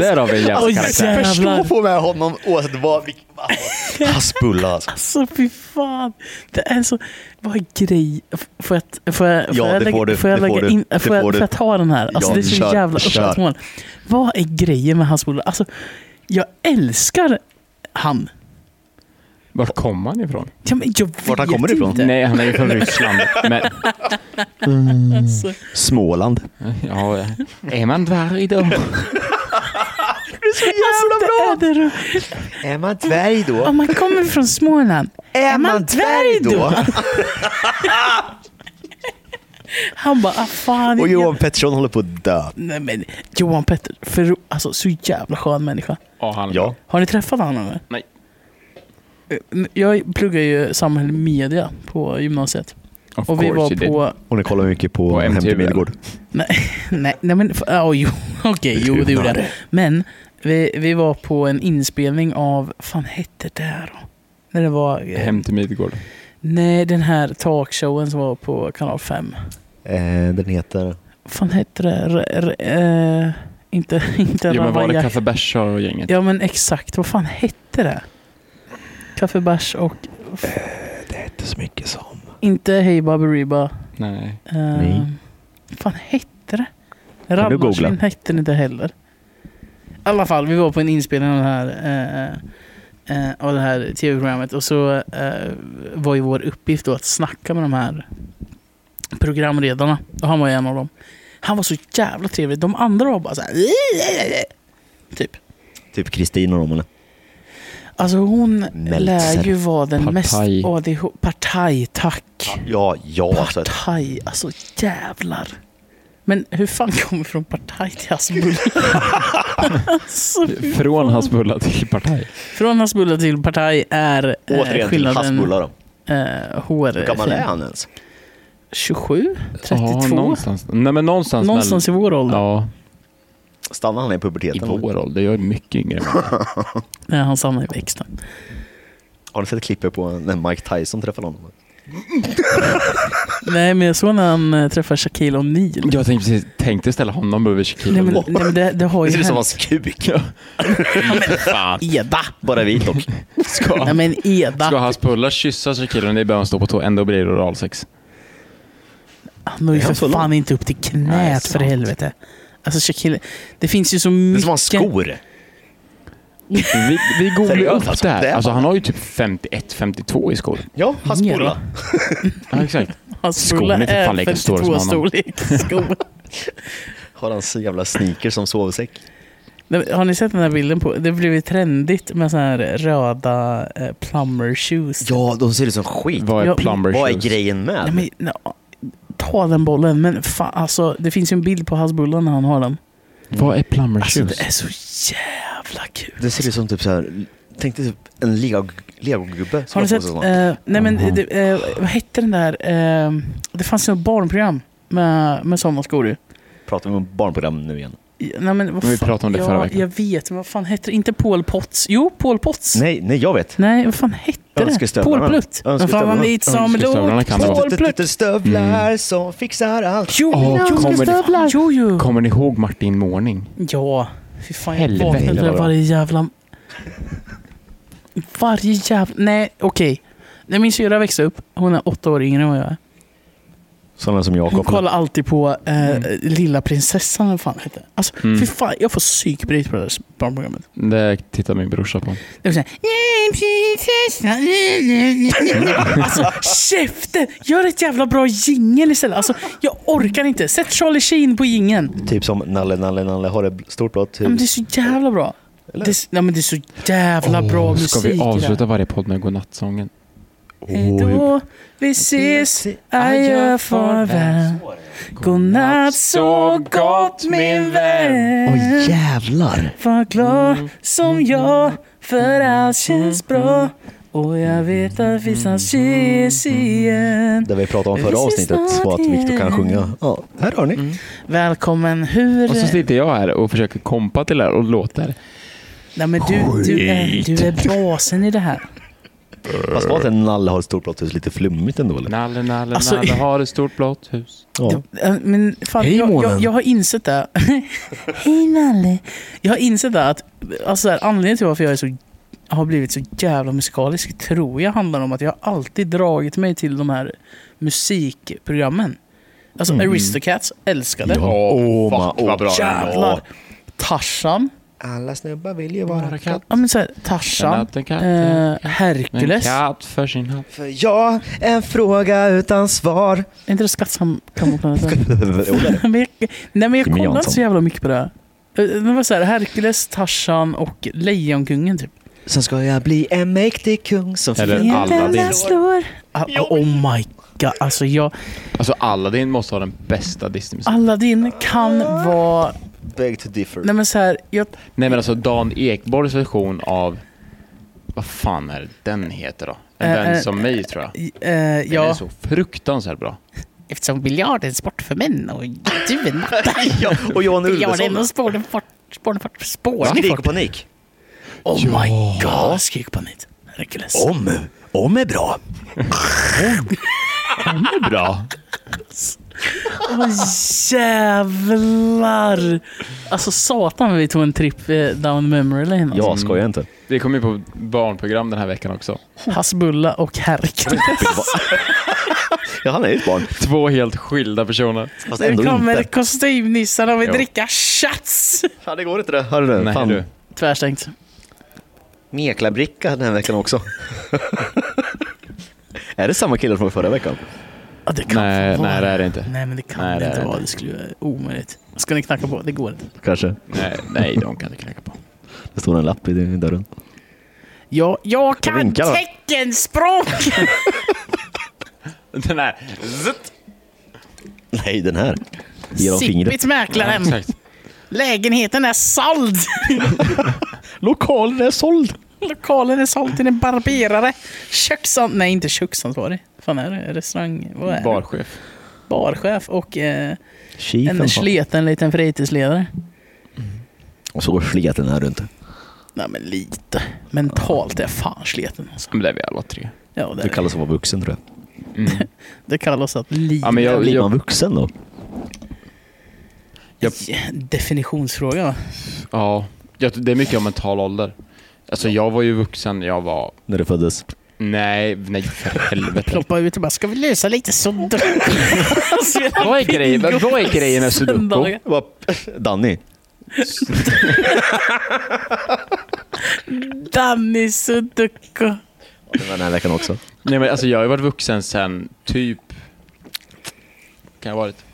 Speaker 3: Där har vi en jävla
Speaker 1: Alltså- oj,
Speaker 3: karaktär.
Speaker 1: jävlar.
Speaker 2: Förstå få med honom oavsett vad. vilk- Hassbullar alltså.
Speaker 1: Alltså fy fan. Det är så... Vad är grej... F- Får jag, får jag, får
Speaker 2: Ja,
Speaker 1: jag
Speaker 2: det får
Speaker 1: lägga,
Speaker 2: du,
Speaker 1: får jag
Speaker 2: det får
Speaker 1: lägga
Speaker 2: du,
Speaker 1: in...
Speaker 2: det
Speaker 1: Får jag,
Speaker 2: får du.
Speaker 1: får jag ta den här? Alltså
Speaker 2: Ja,
Speaker 1: det är så
Speaker 2: kör,
Speaker 1: jävla
Speaker 2: kör.
Speaker 1: uppsatsmål. Vad är grejen med hassbulla? Alltså, jag älskar han.
Speaker 3: Vart kom han ifrån?
Speaker 1: Ja, men jag vet
Speaker 2: Vart han kommer ifrån?
Speaker 1: inte.
Speaker 3: Nej, han är ju från Ryssland. Men,
Speaker 1: Alltså,
Speaker 2: Småland.
Speaker 3: ja, är man dvärg då?
Speaker 1: jävla bra! alltså, Det är det,
Speaker 2: Är man dvärg då?
Speaker 1: om man kommer från Småland.
Speaker 2: Är man dvärg då? Alltså,
Speaker 1: Han bara, ah, fan.
Speaker 2: Och
Speaker 1: jag-
Speaker 2: Johan Pettersson håller på att dö.
Speaker 1: Nej men Johan Petter, för, alltså så jävla skön människa.
Speaker 3: Ja, han
Speaker 2: Ja.
Speaker 1: Har ni träffat honom? eller?
Speaker 3: Nej.
Speaker 1: Eh, Jag pluggar ju samhäll media på gymnasiet.
Speaker 3: Of
Speaker 1: och vi
Speaker 3: course
Speaker 1: var
Speaker 3: you did.
Speaker 1: på...
Speaker 2: Och ni kollar mycket på,
Speaker 3: På
Speaker 2: på Hem
Speaker 3: MTV,
Speaker 2: till Midgård.
Speaker 1: Nej, nej men... f- Ja, jo. Okej, jo det gjorde jag. Men vi, vi var på en inspelning av... fan hette det här då? När det var... eh,
Speaker 3: Hem till Midgård.
Speaker 1: Nej, den här talkshowen som var på kanal 5.
Speaker 2: Eh, den heter...
Speaker 1: fan hette det? R, r, eh, inte... inte
Speaker 3: Jo, men var det
Speaker 1: Raja-
Speaker 3: Kaffe Bärs och gänget?
Speaker 1: Ja men exakt, vad fan hette det? Kaffebärs och
Speaker 2: Inte så mycket som...
Speaker 1: inte Hey Baberiba.
Speaker 3: Nej.
Speaker 1: Uh,
Speaker 2: Nej.
Speaker 1: fan hette det?
Speaker 2: du googla?
Speaker 1: Rallarsvin hette det inte heller. I alla fall, vi var på en inspelning av den här eh, eh, av det här tv-programmet och så eh, var ju vår uppgift då att snacka med de här programledarna. Och han var ju en av dem. Han var så jävla trevlig. De andra var bara så här. Typ.
Speaker 2: Typ Kristin och dem eller?
Speaker 1: Alltså hon
Speaker 2: Meltzer.
Speaker 1: lär ju vara den
Speaker 3: Partaj.
Speaker 1: mest ADHD... Partaj, tack.
Speaker 2: Ja, ja alltså.
Speaker 1: Partaj, alltså jävlar. Men hur fan kommer från partaj till Hasbulla? alltså, fy-
Speaker 3: Från Hasbulla till Partaj.
Speaker 1: från Hasbulla till partaj är eh,
Speaker 2: Återigen till
Speaker 1: skillnaden
Speaker 2: hassbullar då.
Speaker 1: eh, hår.
Speaker 2: Hur gammal är han ens?
Speaker 1: 27? 32?
Speaker 3: Ja, någonstans. Nej, men någonstans.
Speaker 1: någonstans i vår ålder
Speaker 3: Ja,
Speaker 2: Stannar han i
Speaker 3: i
Speaker 2: puberteten?
Speaker 3: vår ålder. Jag är mycket yngre.
Speaker 1: när han stannar i växten.
Speaker 2: Har ni sett klippet på när Mike Tyson träffade honom?
Speaker 1: Nej, men jag såg när han eh, träffar Shaquille O'Neal.
Speaker 3: Jag tänkte, precis, tänkte ställa honom över
Speaker 1: Nej
Speaker 3: Shaquille.
Speaker 1: men,
Speaker 3: O'Neal.
Speaker 1: nej, men det, det har
Speaker 2: Det
Speaker 1: ju
Speaker 2: ser ut som
Speaker 1: hänt.
Speaker 2: hans kuk.
Speaker 3: Fan.
Speaker 1: Eda!
Speaker 2: Bara vit dock.
Speaker 1: Nej men Eda!
Speaker 3: Ska Hasbulla kyssa Shaquille O'Neal i början stå på tå, ändå blir det oralsex.
Speaker 1: Han når ju
Speaker 2: Är
Speaker 1: för
Speaker 2: han så
Speaker 1: fan
Speaker 2: lång?
Speaker 1: inte upp till knät
Speaker 3: Nej,
Speaker 1: för
Speaker 3: sant.
Speaker 1: helvete. Alltså Shaquille, det finns ju så
Speaker 2: Det är
Speaker 1: mycket.
Speaker 2: som hans skor.
Speaker 3: Vi, vi googlar
Speaker 2: Seriöst,
Speaker 3: upp
Speaker 2: alltså.
Speaker 3: det här.
Speaker 2: Det är
Speaker 3: Alltså, han har ju typ 51-52 i skor.
Speaker 2: Ja, hassbullar.
Speaker 3: Ja, exakt.
Speaker 1: Hans
Speaker 3: Skon
Speaker 1: bulla
Speaker 3: är för fan
Speaker 1: är
Speaker 3: lika stor som
Speaker 1: 52
Speaker 3: honom.
Speaker 1: Alltså, storlek skor.
Speaker 2: Har han så jävla sneakers som sovsäck?
Speaker 1: Nej, men Har ni sett den här bilden på? Det blev ju trendigt med sådana här röda eh, plumber shoes.
Speaker 2: Ja, de ser ut som skit.
Speaker 3: Vad är
Speaker 1: Ja,
Speaker 3: plumber
Speaker 2: Vad är
Speaker 3: shoes?
Speaker 2: grejen
Speaker 1: Nej,
Speaker 2: med?
Speaker 1: men, ja, ta den bollen, men fan, alltså, det finns ju en bild på hans bulla när han har den.
Speaker 3: Vad är plumber
Speaker 1: Alltså
Speaker 3: shoes?
Speaker 1: det är så jävla kul.
Speaker 2: Det ser ut som typ så här. Tänk dig typ en lego- legogubbe. som
Speaker 1: Har ni
Speaker 2: på sig
Speaker 1: sett,
Speaker 2: sådana.
Speaker 1: eh, nej men, det, eh, vad hette den där, eh, det fanns ju ett barnprogram med, med sådana skor ju.
Speaker 2: Pratar vi om barnprogram nu igen?
Speaker 1: Nej, men vad
Speaker 3: Men vi
Speaker 1: fan-
Speaker 3: pratade om det
Speaker 1: ja,
Speaker 3: förra veckan.
Speaker 1: Jag vet, men vad fan hette det? Inte Paul Potts? Jo, Paul Potts. Nej,
Speaker 2: Nej, nej jag vet.
Speaker 1: vad fan hette det?
Speaker 2: Önskestövlarna.
Speaker 1: Paul Plutt. Vad fan
Speaker 2: Önskestövlarna.
Speaker 1: man dit som
Speaker 3: Önskestövlarna
Speaker 1: låg.
Speaker 3: kan det
Speaker 1: Paul
Speaker 3: vara.
Speaker 1: Plutt.
Speaker 2: Stövlar som fixar allt.
Speaker 1: Jo,
Speaker 3: Åh,
Speaker 1: jo,
Speaker 3: kommer det-
Speaker 1: stövlar. Jo, jo.
Speaker 3: Kommer ni ihåg Martin Morning?
Speaker 1: Ja, fy fan jag
Speaker 3: Helvete,
Speaker 1: vaknade till
Speaker 3: vad
Speaker 1: det
Speaker 3: bra.
Speaker 1: varje jävla... Varje jävla... Nej, okej. När min syrra växte upp, hon är åtta år yngre än vad jag är.
Speaker 2: Sådana som jag
Speaker 1: Hon
Speaker 2: kopplar.
Speaker 1: kollar alltid på eh, Lilla Prinsessan, eller vad fan hette. Alltså,
Speaker 3: Mm.
Speaker 1: fy fan, jag får psykbryt på det här barnprogrammet.
Speaker 3: Det tittar min brorsa på.
Speaker 1: Det var såhär, "Nej, prinsessan, nej, nej, nej." Alltså käften! Gör ett jävla bra jingel istället. Alltså jag orkar inte. Sätt Charlie Sheen på jingeln.
Speaker 2: Typ som Nalle, Nalle, Nalle har ett stort blått
Speaker 1: Ja, men det är
Speaker 2: hus.
Speaker 1: så jävla bra. Det är, s- ja, men det är så jävla bra musik
Speaker 3: Ska vi
Speaker 1: i det här.
Speaker 3: avsluta varje podd med godnattsången?
Speaker 1: Hejdå, vi ses, adjö, farväl. Godnatt så gott min vän. Mm.
Speaker 2: Åh jävlar!
Speaker 1: Var glad som jag, för allt känns bra. Och jag vet att vi snart ses igen.
Speaker 2: Det vi pratade om
Speaker 1: Vi
Speaker 2: förra
Speaker 1: ses
Speaker 2: avsnittet
Speaker 1: snart
Speaker 2: var att Viktor
Speaker 1: igen.
Speaker 2: kan sjunga. Ja, här har ni.
Speaker 1: Välkommen hur...
Speaker 3: Och så sitter jag här och försöker kompa till det här och låter.
Speaker 1: Alltså, Nej, men du, du, är, du är basen i det här.
Speaker 2: Fast var att en nalle har ett stort blått hus lite flummigt ändå eller?
Speaker 3: Nalle, nalle,
Speaker 1: Alltså,
Speaker 3: nalle har ett stort blått hus.
Speaker 2: Ja.
Speaker 1: Eh, Men fan,
Speaker 6: Hej,
Speaker 1: jag, jag,
Speaker 6: månen.
Speaker 1: jag har insett det. Hej Nalle. Jag har insett det att alltså, så här, anledningen till varför jag är så, har blivit så jävla musikalisk tror jag handlar om att jag har alltid dragit mig till de här musikprogrammen. Alltså Aristocats älskade.
Speaker 2: Ja. Åh, ma-
Speaker 3: fuck vad bra den var.
Speaker 1: Jävlar. Tarzan.
Speaker 2: Alla snubbar vill ju vara katt.
Speaker 1: Ja, men så här,
Speaker 3: Den
Speaker 1: Tarzan.
Speaker 3: natt en katt,
Speaker 1: Eh,
Speaker 3: en
Speaker 1: Hercules.
Speaker 3: katt för sin hatt.
Speaker 2: För jag, en fråga utan svar.
Speaker 1: Är inte det Skattkammarplaneten?
Speaker 2: Eller?
Speaker 1: Men jag- Nej men jag
Speaker 2: Jimmy
Speaker 1: kollade inte
Speaker 2: Jansson.
Speaker 1: så jävla mycket på det. här. Eh, Det var så här, Herkules, Tarzan och Lejonkungen typ.
Speaker 2: Sen ska jag bli en mäktig kung som
Speaker 3: Eller Aladdin.
Speaker 1: slår. Ah, oh my god. Alltså jag,
Speaker 3: Alltså Aladdin måste ha den bästa Disney-musiken.
Speaker 1: Aladdin kan vara...
Speaker 2: Beg to differ.
Speaker 1: Nej men så här, jag,
Speaker 3: Nej men alltså Dan Ekborgs version av... Vad fan är det den heter då? En
Speaker 1: Eh,
Speaker 3: vän
Speaker 1: eh,
Speaker 3: som mig tror jag.
Speaker 1: eh,
Speaker 3: Den är
Speaker 1: jag
Speaker 3: så fruktansvärt bra.
Speaker 1: Eftersom biljard är en sport för män och du är natt.
Speaker 2: ja, och Johan
Speaker 1: Biljard är
Speaker 2: Ulveson.
Speaker 1: en sport, sport, sport, sport.
Speaker 2: Skrik och panik.
Speaker 1: Oh my god. Skrik på nit. Herkules.
Speaker 2: Om. Om är bra.
Speaker 3: Det är bra.
Speaker 1: Åh jävlar! Alltså satan vi tog en tripp eh, down memory lane. Alltså.
Speaker 2: Ja, skojar inte.
Speaker 3: Det kom ju på barnprogram den här veckan också.
Speaker 1: Hasbulla och Herkules.
Speaker 2: Ja, han är ju ett barn.
Speaker 3: Två helt skilda personer.
Speaker 2: Fast
Speaker 1: Nu
Speaker 2: ändå
Speaker 1: kommer
Speaker 2: inte.
Speaker 1: kostymnissarna och vill
Speaker 3: Jo.
Speaker 1: dricka shots.
Speaker 2: Fan, det går inte det. Hörru du.
Speaker 3: Nej
Speaker 2: fan.
Speaker 3: du.
Speaker 1: Tvärstängt.
Speaker 2: Meklabricka den här veckan också. är det samma kille från förra veckan?
Speaker 1: Ja, det kan
Speaker 3: Nej,
Speaker 1: fan vara.
Speaker 3: nej det är det inte.
Speaker 1: Nej, men det kan
Speaker 3: Nej,
Speaker 1: det
Speaker 3: det
Speaker 1: inte
Speaker 3: är
Speaker 1: vara.
Speaker 3: det.
Speaker 1: Det skulle vara omöjligt. Ska ni knacka på? Det går inte.
Speaker 2: Kanske.
Speaker 3: Nej, nej de kan inte knacka på.
Speaker 2: Det står en lapp i dörren.
Speaker 1: Jag, jag
Speaker 2: Jag
Speaker 1: kan
Speaker 2: vinkar, va?
Speaker 1: teckenspråk!
Speaker 3: Den här. Zzzt.
Speaker 2: Nej, den här. Genom fingret.
Speaker 1: Sippigt mäklarhem.
Speaker 3: Exakt.
Speaker 1: Lägenheten är såld.
Speaker 2: Lokalen är såld.
Speaker 1: Lokalen är såld till en barberare. Köksan... Nej, inte köksansvarig. Fan är det? Restaurang... Vad är det?
Speaker 3: Barchef.
Speaker 1: Barchef och eh,
Speaker 2: Tji,
Speaker 1: en sleten liten fritidsledare.
Speaker 2: Och så går sleten här runt.
Speaker 1: Nej, men lite. Mentalt är jag fan sleten alltså.
Speaker 3: Men det är vi alla tre.
Speaker 1: Ja, det,
Speaker 2: Det kallas att vara vuxen tror jag.
Speaker 3: Mm.
Speaker 1: det kallas att lida.
Speaker 3: Ja, men jag,
Speaker 2: Blir man
Speaker 3: jag,
Speaker 2: vuxen då?
Speaker 3: jag,
Speaker 1: Definitionsfråga va?
Speaker 3: ja, jag, det är mycket om mental ålder. Alltså jag var ju vuxen, jag var...
Speaker 2: När du föddes?
Speaker 3: Nej, nej för helvete.
Speaker 1: Ploppa ut och bara, ska vi lösa lite sudoku?
Speaker 3: Vad är grejen, vad är grejen med sudoku?
Speaker 1: Söndagar.
Speaker 2: Danny.
Speaker 1: Danny sudoku.
Speaker 2: Det var den här veckan också.
Speaker 3: Nej men alltså jag har ju varit vuxen sen typ... Kan jag ha varit?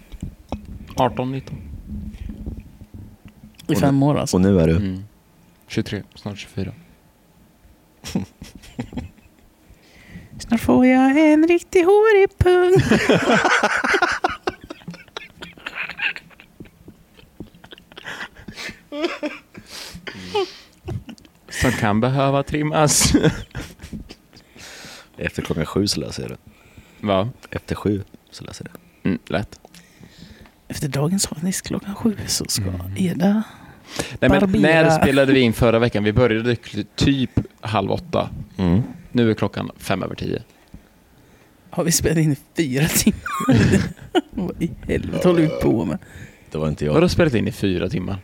Speaker 3: 18, 19?
Speaker 1: I fem år alltså.
Speaker 2: Och nu är du?
Speaker 3: Mm. 23, snart 24.
Speaker 1: Snart får jag en riktig hårig pung.
Speaker 3: Som kan behöva trimmas.
Speaker 2: Efter klockan sju så läser jag det.
Speaker 3: Va?
Speaker 2: Efter sju så läser jag det.
Speaker 3: Mm, lätt.
Speaker 1: Efter dagens avsnitt klockan sju så ska
Speaker 3: Mm.
Speaker 1: Eda...
Speaker 3: Nej, men
Speaker 1: Barbera.
Speaker 3: när spelade vi in förra veckan? Vi började kl- typ halv åtta. Nu är klockan fem över tio.
Speaker 1: Har vi spelat in i fyra timmar? Vad i helvete håller vi på med?
Speaker 2: Det var inte jag.
Speaker 3: Vadå spelat in i fyra timmar?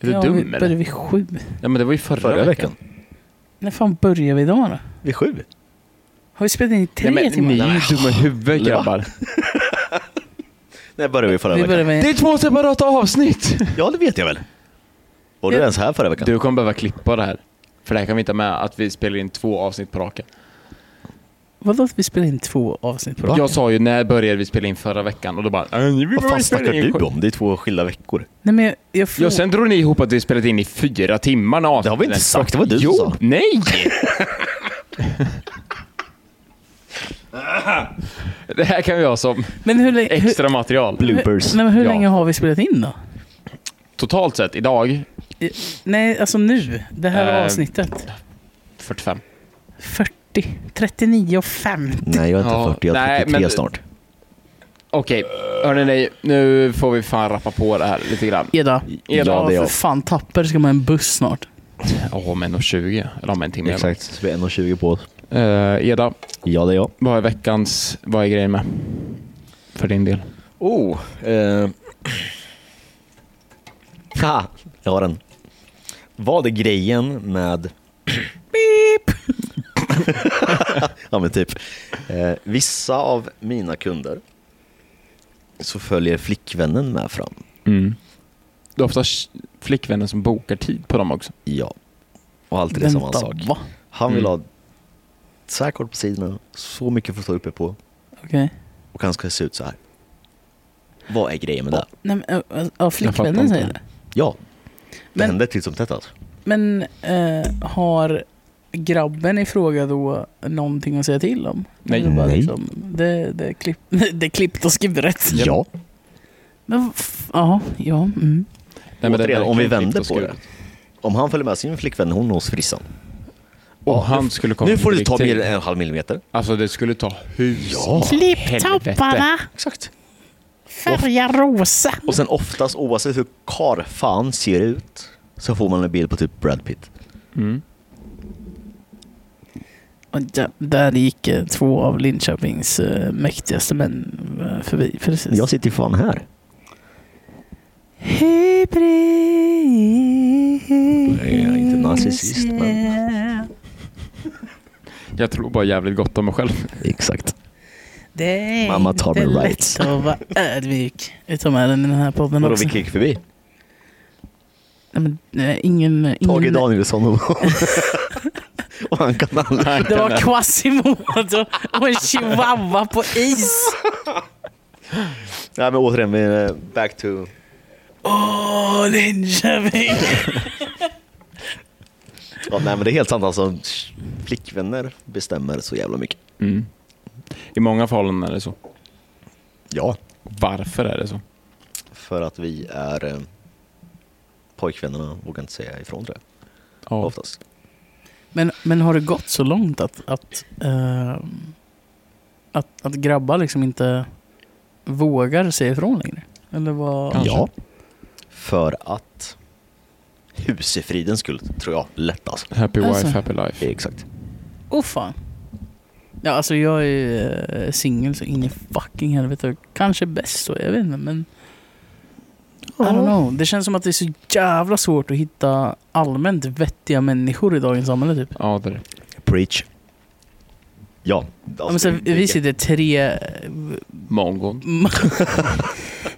Speaker 3: Är du
Speaker 1: ja,
Speaker 3: dum
Speaker 1: vi
Speaker 3: eller?
Speaker 1: började vid sju.
Speaker 3: Ja men det var ju förra,
Speaker 2: Förra veckan?
Speaker 1: När fan börjar vi idag då?
Speaker 2: Vid sju?
Speaker 1: Har vi spelat in i tre
Speaker 3: Nej, men,
Speaker 1: timmar?
Speaker 3: ni är ju dumma i huvudet grabbar.
Speaker 2: Nej, började vi förra
Speaker 1: vi
Speaker 2: veckan?
Speaker 1: börjar med...
Speaker 3: Det är två separata avsnitt!
Speaker 2: Ja, det vet jag väl. Var du
Speaker 1: Ja.
Speaker 2: ens här förra veckan?
Speaker 3: Du kommer behöva klippa det här. För det här kan vi inte ha med att vi spelar in två avsnitt på raken.
Speaker 1: Vadå att vi spelar in två avsnitt på raken?
Speaker 3: Jag sa ju när började vi spela in förra veckan och då bara... "Äh, vi
Speaker 2: Vad fan
Speaker 3: började spela
Speaker 2: snackar
Speaker 3: in
Speaker 2: du
Speaker 3: sju-"
Speaker 2: om? Det är två skilda veckor.
Speaker 1: Nej men jag, jag
Speaker 3: Ja,
Speaker 1: frågar...
Speaker 3: sen drog ni ihop att vi spelat in i fyra timmar när
Speaker 2: Det har vi inte
Speaker 3: avsnittet-
Speaker 2: sagt, det var du som
Speaker 3: Jo,
Speaker 2: sa.
Speaker 3: nej! det här kan vi ha som
Speaker 1: Men hur, lä- hur,
Speaker 3: extra material.
Speaker 2: Bloopers.
Speaker 1: hur, nej, men hur
Speaker 3: Ja.
Speaker 1: länge har vi spelat in då?
Speaker 3: Totalt sett, idag,
Speaker 1: I- Nej, alltså nu. Det här
Speaker 3: Eh.
Speaker 1: avsnittet.
Speaker 3: 45.
Speaker 1: 40. 40. 39 och 50.
Speaker 2: Nej, jag är inte
Speaker 3: Ja,
Speaker 2: 40, jag är
Speaker 3: nej,
Speaker 2: 33
Speaker 3: men-
Speaker 2: snart.
Speaker 3: Okej, hörni nej, nu får vi fan rappa på det här lite grann.
Speaker 1: Eda.
Speaker 2: Ja, det är
Speaker 1: för
Speaker 2: jag.
Speaker 1: fan tapper ska man en buss snart.
Speaker 3: Ja, om en och tjugo, eller om en timme.
Speaker 2: Exakt, så vi är 1,20 på oss.
Speaker 3: Eh, Eda,
Speaker 2: Ja, det är jag.
Speaker 3: vad är veckans, vad är grejen med? För din del.
Speaker 2: Oh! Eh... Ha, jag har den. Vad är grejen med... Beep! ja men typ. Eh, vissa av mina kunder så följer flickvännen med fram. Mm.
Speaker 3: Det är ofta sh- flickvännen som bokar tid på dem också.
Speaker 2: Ja. Och alltid det är samma
Speaker 1: Vänta,
Speaker 2: sak.
Speaker 1: va?
Speaker 2: Han vill
Speaker 3: Mm.
Speaker 2: ha så här kort på sidorna, så mycket får stå uppe på
Speaker 1: Okej.
Speaker 2: och han ska se ut så här. Vad är grejen med det?
Speaker 1: Nej, men, ö, ö, ja,
Speaker 3: Jag
Speaker 1: flickvännen
Speaker 3: fattar
Speaker 1: säger
Speaker 3: inte.
Speaker 1: det.
Speaker 2: Ja, det
Speaker 1: Men-
Speaker 2: händer titt som tätt alltså.
Speaker 1: Men eh, har grabben i fråga då någonting att säga till om?
Speaker 3: Nej.
Speaker 1: Eller bara
Speaker 2: Nej.
Speaker 1: Liksom, det, det, är klipp, det är klippt och skuret.
Speaker 2: Ja.
Speaker 1: Men, vad f- ja, ja. Mm.
Speaker 3: Nej, men det är
Speaker 2: Återigen, om vi
Speaker 3: verkligen
Speaker 2: vänder
Speaker 3: klippt och
Speaker 2: på det.
Speaker 3: skuret.
Speaker 2: Om han följer med sin flickvän hon hos frissan.
Speaker 3: Om
Speaker 2: Ja,
Speaker 3: han skulle komma
Speaker 2: nu får
Speaker 3: med
Speaker 2: du ta
Speaker 3: direktiv.
Speaker 2: mer än en halv millimeter.
Speaker 3: Alltså det skulle ta hus.
Speaker 2: Ja.
Speaker 1: Klipp
Speaker 3: helvete.
Speaker 1: topparna,
Speaker 2: Exakt.
Speaker 1: färga rosa.
Speaker 2: Och sen oftast, oavsett hur karfan ser ut, så får man en bild på typ Brad Pitt.
Speaker 3: Mm.
Speaker 1: Och där, där gick eh, två av Linköpings eh, mäktigaste män eh, förbi. Precis.
Speaker 2: Jag sitter ju fan här. Nej, jag är inte narcissist, men-
Speaker 3: Jag tror bara jävligt gott om mig själv.
Speaker 2: Exakt.
Speaker 1: Det är
Speaker 2: Mamma tar
Speaker 1: inte
Speaker 2: mig
Speaker 1: lätt
Speaker 2: right.
Speaker 1: att vara ödmjuk. Utom även i den här podden
Speaker 2: Vadå,
Speaker 1: också.
Speaker 2: vilka gick förbi?
Speaker 1: Nej, men, nej, ingen,
Speaker 2: Tage
Speaker 1: ingen...
Speaker 2: Danielsson och... och han kan alla.
Speaker 1: Det var Quasimodo och en chihuahua på is.
Speaker 2: Nej men återigen, vi är back to...
Speaker 1: Åh, Linköping!
Speaker 2: Ja, nej men det är helt sant alltså. Flickvänner bestämmer så jävla mycket.
Speaker 3: Mm. I många förhållanden är det så.
Speaker 2: Ja.
Speaker 3: Varför är det så?
Speaker 2: För att vi är... eh, Pojkvännerna vågar inte säga ifrån tror jag.
Speaker 3: Ja.
Speaker 2: Oftast.
Speaker 1: Men, men har det gått så långt att, att, ehm, att, att grabbar liksom inte vågar säga ifrån längre? Eller vad?
Speaker 3: Kanske.
Speaker 2: Ja. För att... Husefridens skull, tror jag. Lätt alltså.
Speaker 3: Happy
Speaker 1: Alltså.
Speaker 3: wife, happy life.
Speaker 2: Exakt.
Speaker 1: Åh fan. Ja, alltså jag är ju eh, singel så in i fucking helvete. Kanske bäst så, jag vet inte. Men I don't know. Det känns som att det är så jävla svårt att hitta allmänt vettiga människor i dagens samhälle typ.
Speaker 3: Ja, det är det.
Speaker 2: Preach. Ja. alltså,
Speaker 1: Ja, men så,
Speaker 2: det-
Speaker 1: vi sitter tre... eh,
Speaker 3: Mongon.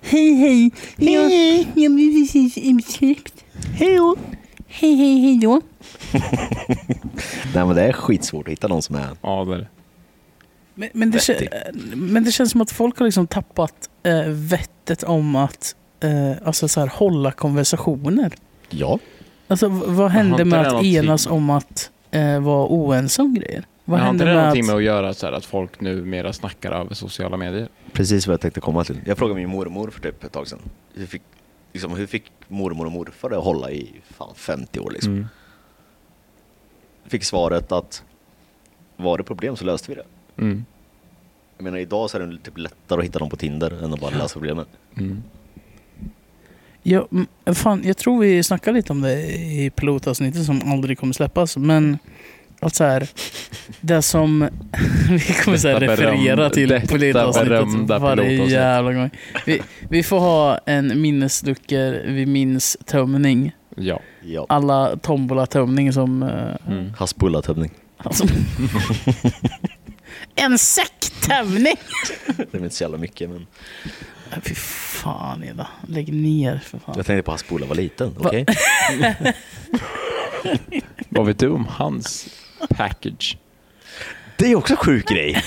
Speaker 1: hej hej! Hej hej! Jag blev precis insläppt. Hej då! Hej hej hej då!
Speaker 2: Nej men det är skitsvårt att hitta någon som är...
Speaker 3: Ja, det är det.
Speaker 1: Men, men, det,
Speaker 2: Vettig.
Speaker 1: kän- men det känns som att folk har liksom tappat eh, vettet om att eh, alltså så här, hålla konversationer.
Speaker 2: Ja.
Speaker 1: Alltså, v- vad
Speaker 3: har
Speaker 1: hände
Speaker 3: inte
Speaker 1: med
Speaker 3: det
Speaker 1: att
Speaker 3: någonting-
Speaker 1: enas om att eh, vara oense om grejer? Vad
Speaker 3: Men har
Speaker 1: hände
Speaker 3: inte det
Speaker 1: med att...
Speaker 3: någonting med att göra så här att folk numera snackar över sociala medier?
Speaker 2: Precis vad jag tänkte komma till. Jag frågade min mormor för typ ett tag sedan. Hur fick, liksom, hur fick mormor och morfar det att hålla i fan 50 år liksom?
Speaker 3: Mm.
Speaker 2: Fick svaret att var det problem så löste vi det.
Speaker 3: Mm.
Speaker 2: Jag menar idag så är det typ lättare att hitta någon på Tinder än att bara lösa problemen.
Speaker 3: Mm.
Speaker 1: Ja, mm, fan, jag tror vi snackade lite om det i pilotavsnittet som aldrig kommer släppas. Men att så här, det som vi kommer så här
Speaker 3: Detta
Speaker 1: referera
Speaker 3: beröm-
Speaker 1: till
Speaker 3: detta
Speaker 1: pilotavsnittet
Speaker 3: berömda
Speaker 1: varje
Speaker 3: pilotavsnitt.
Speaker 1: jävla gång. Vi, vi får ha en minnesluckor, vi minns tömning.
Speaker 3: Ja.
Speaker 2: Ja.
Speaker 1: Alla tombola-tömning som... eh,
Speaker 3: Mm.
Speaker 2: Hasbulla-tömning.
Speaker 1: Alltså. en säcktömning!
Speaker 2: Det är inte så jävla mycket men
Speaker 1: Nej, Fy fan Eda, lägg ner för fan.
Speaker 2: jag tänkte på Hasbulla var liten.
Speaker 1: Va?
Speaker 2: Okej?
Speaker 3: Vad vet du om hans package?
Speaker 2: Det är också en sjuk grej.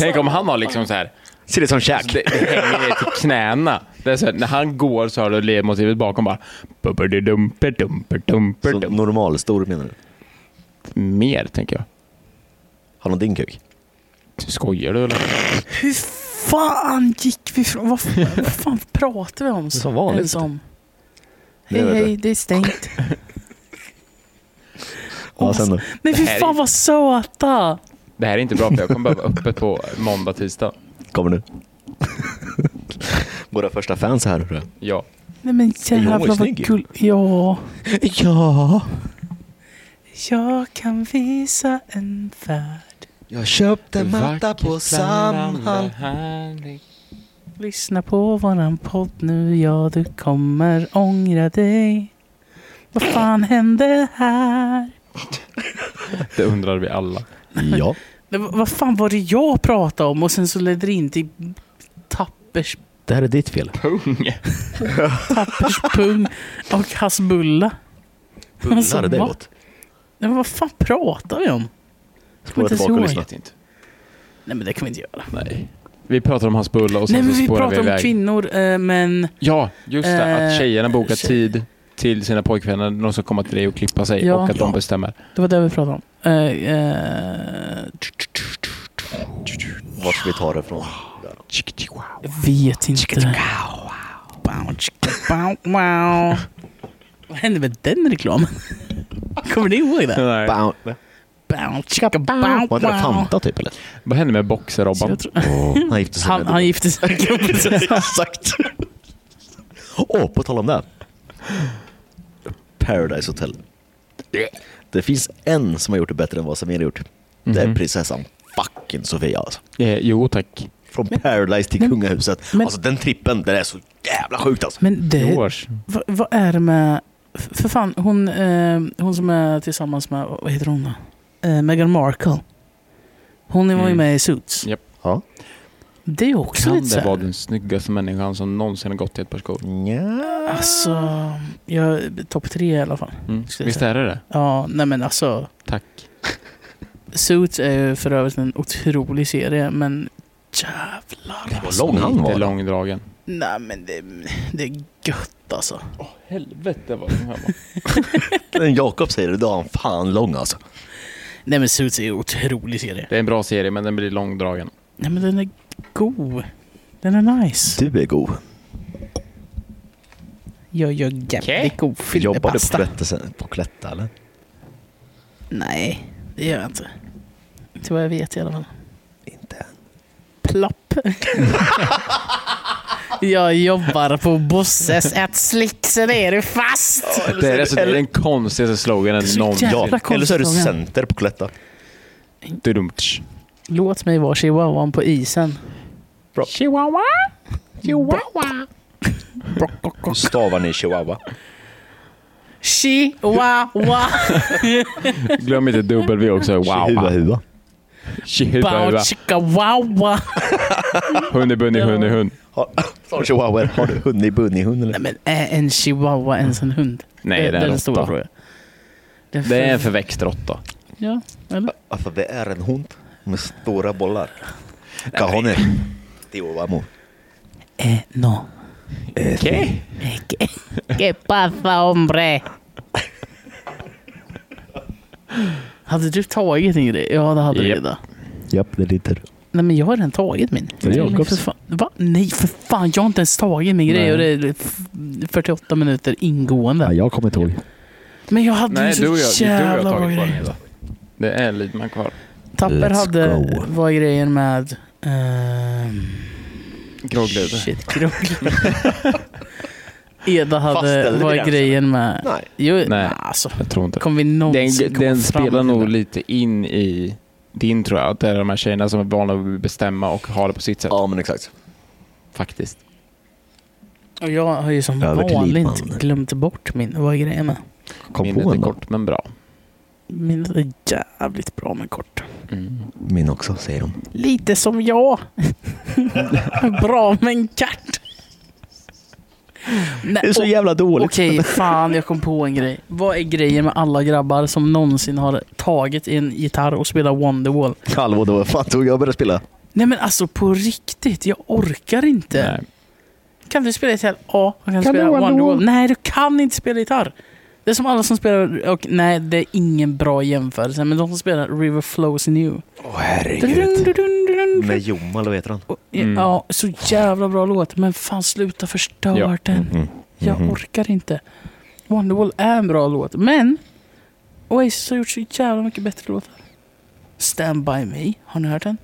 Speaker 3: Tänk om han har liksom så här, Alltså,
Speaker 2: Ser det som käk.
Speaker 3: det, det hänger ner till knäna. Det är så här, när han går så har du ledmotivet bakom bara...
Speaker 2: Så normalstor menar du?
Speaker 3: Mer, tänker jag.
Speaker 2: Har någon din kuk?
Speaker 3: Skojar du eller?
Speaker 1: Hur fan gick vi från... Vad, fan- vad fan pratar vi om? så-
Speaker 2: Som vanligt.
Speaker 1: ens om?
Speaker 2: Det
Speaker 1: Hej
Speaker 2: vet jag.
Speaker 1: hej, det är stängt.
Speaker 2: Ja, sen då.
Speaker 1: Nej fy
Speaker 3: här är-
Speaker 1: fan vad söta!
Speaker 3: Det här är inte bra för jag kommer behöva vara öppet på måndag, tisdag.
Speaker 2: Kommer nu. Våra första fans är här. hörru.
Speaker 3: Ja.
Speaker 1: Nej men
Speaker 2: Johan
Speaker 1: jävlar
Speaker 2: var
Speaker 1: vad
Speaker 2: snygg.
Speaker 1: kul. Ja.
Speaker 2: Ja,
Speaker 1: Jag kan visa en värld.
Speaker 2: jag köpte matta på
Speaker 3: Vackert
Speaker 2: Samhall.
Speaker 3: blandande härligt.
Speaker 1: Lyssna på våran podd nu, ja du kommer ångra dig. Vad fan hände här?
Speaker 3: Det undrar vi alla.
Speaker 2: Ja,
Speaker 1: Det, var- vad fan var det jag pratade om och sen så ledde det in till tappers,
Speaker 2: det här är ditt fel.
Speaker 3: Pung!
Speaker 1: tapperspung och hasbulla. Alltså,
Speaker 2: Bullar, det är
Speaker 1: va?
Speaker 2: gott.
Speaker 1: Nej, men vad fan pratar vi om?
Speaker 2: Spola tillbaka
Speaker 1: ihåg.
Speaker 2: och
Speaker 3: Jag
Speaker 2: lyssna.
Speaker 3: vet inte.
Speaker 1: Nej men det kan vi inte göra.
Speaker 3: Nej. Vi pratar om hans bulla och sen
Speaker 1: Nej men
Speaker 3: så
Speaker 1: vi
Speaker 3: spårar vi
Speaker 1: pratar om
Speaker 3: iväg.
Speaker 1: kvinnor eh, men
Speaker 3: Ja, just det.
Speaker 1: Eh,
Speaker 3: Att tjejerna bokar
Speaker 1: tjej-
Speaker 3: tid till sina pojkvänner. De ska komma till dig och klippa sig
Speaker 1: Ja.
Speaker 3: och att de
Speaker 2: Ja.
Speaker 3: bestämmer.
Speaker 1: det var det vi pratade om. Eh, eh,
Speaker 2: Vart ska vi ta det ifrån?
Speaker 1: jag vet inte. Bow, chicka, bow, wow. Vad hände med den reklamen? Kommer ni ihåg det?
Speaker 3: Nej.
Speaker 2: Bam.
Speaker 1: Bow, chicka, bow,
Speaker 2: Var inte det
Speaker 1: wow.
Speaker 2: Fanta typ eller?
Speaker 3: Vad hände med
Speaker 1: Så
Speaker 3: Boxer-Robban?
Speaker 1: jag tror-
Speaker 2: Han gifte sig
Speaker 1: Han,
Speaker 2: med
Speaker 1: han gifte sig.
Speaker 2: Exakt. Åh, på tal om det. Paradise Hotel. Det finns en som har gjort det bättre än vad Samir har gjort. Det är
Speaker 3: Mhm.
Speaker 2: prinsessan fucking Sofia alltså.
Speaker 3: Eh, jo tack.
Speaker 2: Från Paradise till
Speaker 1: men-
Speaker 2: kungahuset.
Speaker 1: men-
Speaker 2: alltså den trippen, den är så jävla sjukt alltså.
Speaker 1: Men
Speaker 3: I
Speaker 1: det,
Speaker 3: års.
Speaker 1: vad, vad är det med... f- För fan, hon, eh, hon som är tillsammans med... Vad heter hon då? Eh, Meghan Markle. Hon var ju
Speaker 3: Mm.
Speaker 1: med i Suits.
Speaker 3: Japp.
Speaker 2: Ja.
Speaker 1: Det är också
Speaker 3: Kan
Speaker 1: lite så
Speaker 3: det
Speaker 1: här.
Speaker 3: vara den snyggaste människan som någonsin har gått i ett par skor?
Speaker 2: Nja.
Speaker 1: Alltså, jag topp tre i alla fall.
Speaker 3: Mm.
Speaker 1: Ska jag
Speaker 3: Visst är det det?
Speaker 1: Ja, nej men alltså.
Speaker 3: Tack.
Speaker 1: Suits är ju för övrigt en otrolig serie, men jävlar. alltså.
Speaker 2: Vad lång han
Speaker 3: Lite
Speaker 2: var.
Speaker 3: långdragen.
Speaker 1: Nej men det, det är gött alltså.
Speaker 3: Åh helvete vad lång han var.
Speaker 2: Den Jakob säger det, då är han fan lång alltså.
Speaker 1: Nej men Suits är en otrolig serie.
Speaker 3: Det är en bra serie men den blir långdragen.
Speaker 1: Nej men den är god. Den är nice.
Speaker 2: Du är god.
Speaker 1: Jag gör jävligt
Speaker 3: Okej.
Speaker 1: god
Speaker 2: Jobbar du på
Speaker 1: filterpasta.
Speaker 2: Cloetta sen- på Cloetta eller?
Speaker 1: Nej, det gör jag inte. Inte vad jag vet i alla fall.
Speaker 2: Inte än.
Speaker 1: Plopp. jag jobbar på Bosses ett slick, sen är du fast.
Speaker 3: Det är, alltså, det är den konstigaste sloganen
Speaker 1: så
Speaker 3: någonsin.
Speaker 1: jävla-
Speaker 2: Ja, eller så är du
Speaker 1: konstfråga.
Speaker 2: center på Cloetta.
Speaker 3: Dudumtsch.
Speaker 1: Låt mig vara chihuahuan på isen.
Speaker 3: Chihuahua?
Speaker 5: Chihuahua.
Speaker 2: Hur stavar ni chihuahua?
Speaker 1: Chihuahua.
Speaker 3: Glöm inte W också.
Speaker 2: Chihuahua.
Speaker 3: Wow.
Speaker 2: hua.
Speaker 1: Bao
Speaker 3: Chihuahua.
Speaker 1: chihuahua.
Speaker 3: Hunni bunni hunni hund.
Speaker 2: Har, sa du chihuahua? Har du hund i bunny hund eller?
Speaker 1: Nej men är en chihuahua ens en hund?
Speaker 3: Nej, det är en
Speaker 1: den stora
Speaker 3: råtta.
Speaker 1: frågan. Det är,
Speaker 3: Det är en
Speaker 1: för...
Speaker 3: förväxt råtta.
Speaker 1: Ja, eller?
Speaker 2: Alltså det är en hund med stora bollar. Kahoner. Det är ovamo.
Speaker 1: Eh, no.
Speaker 3: Eh,
Speaker 1: Eh,
Speaker 3: Okej.
Speaker 1: Que, que pasa hombre? Hade du tagit Ingrid? Ja det hade du
Speaker 3: Japp.
Speaker 1: redan.
Speaker 2: Japp, det är lite.
Speaker 1: Nej men jag har redan tagit min.
Speaker 2: Det är Jakobs.
Speaker 1: för fan, va? Nej för fan, jag har inte ens tagit min grej
Speaker 3: Nej. Ah,
Speaker 1: och det är f- 48 minuter ingående.
Speaker 2: jag kommer inte ihåg.
Speaker 1: Men jag hade ju
Speaker 3: Nej,
Speaker 1: så
Speaker 3: du och jag, du och jag
Speaker 1: jävla
Speaker 3: har
Speaker 1: bra
Speaker 3: tagit
Speaker 1: grej.
Speaker 3: kvar Det är Lidman kvar.
Speaker 1: Tapper
Speaker 2: Let's
Speaker 1: hade,
Speaker 2: go.
Speaker 1: var grejen med... ehm,
Speaker 3: Groggluder.
Speaker 1: Shit, groggluder. Eda hade,
Speaker 2: Fastställde vi
Speaker 1: var
Speaker 2: gränsen?
Speaker 1: grejen med...
Speaker 2: Nej.
Speaker 1: Jo, nej.
Speaker 3: Nej.
Speaker 1: alltså.
Speaker 3: Jag tror inte.
Speaker 1: Kommer vi
Speaker 3: Den,
Speaker 1: någonsin komma
Speaker 3: den
Speaker 1: fram
Speaker 3: spelar
Speaker 1: till
Speaker 3: nog
Speaker 1: det?
Speaker 3: lite in i din tror jag. Att det är de här tjejerna som är vana att bestämma och har det på sitt sätt.
Speaker 2: Ja, men exakt.
Speaker 3: Faktiskt.
Speaker 1: Och jag har ju som
Speaker 2: Över till
Speaker 1: vanligt
Speaker 2: Lidman.
Speaker 1: glömt bort min... Vad är grejen med?
Speaker 2: Kom
Speaker 3: Minnet
Speaker 2: på
Speaker 3: är
Speaker 2: en då.
Speaker 3: kort men bra.
Speaker 1: Min är jävligt bra men kort.
Speaker 2: Min också, säger de.
Speaker 1: Lite som jag. bra men kort. Nej,
Speaker 2: Det är så
Speaker 1: och-
Speaker 2: jävla dåligt.
Speaker 1: Okej, fan jag kom på en grej. Vad är grejen med alla grabbar som någonsin har tagit en gitarr och spelat Wonderwall?
Speaker 2: Kalvo då. Fan, tog jag började spela.
Speaker 1: Nej men alltså på riktigt, jag orkar inte.
Speaker 3: Nej.
Speaker 1: Kan du spela gitarr? Ja, jag kan,
Speaker 3: Kan
Speaker 1: spela
Speaker 3: du Wonderwall?
Speaker 1: Wonderwall. Nej, du kan inte spela gitarr. Det är som alla som spelar, och nej det är ingen bra jämförelse, men de som spelar River Flows New.
Speaker 2: Åh,
Speaker 1: Dun, dun, dun, dun.
Speaker 2: Med Jomal, vad heter han?
Speaker 1: Och- Ja, så jävla bra låt, men fan sluta förstör
Speaker 3: Ja.
Speaker 1: den.
Speaker 2: Mm.
Speaker 1: Jag
Speaker 2: Mhm.
Speaker 1: orkar inte. Wonderwall är en bra låt, men Oasis har gjort så jävla mycket bättre låtar. Stand By Me, har ni hört den?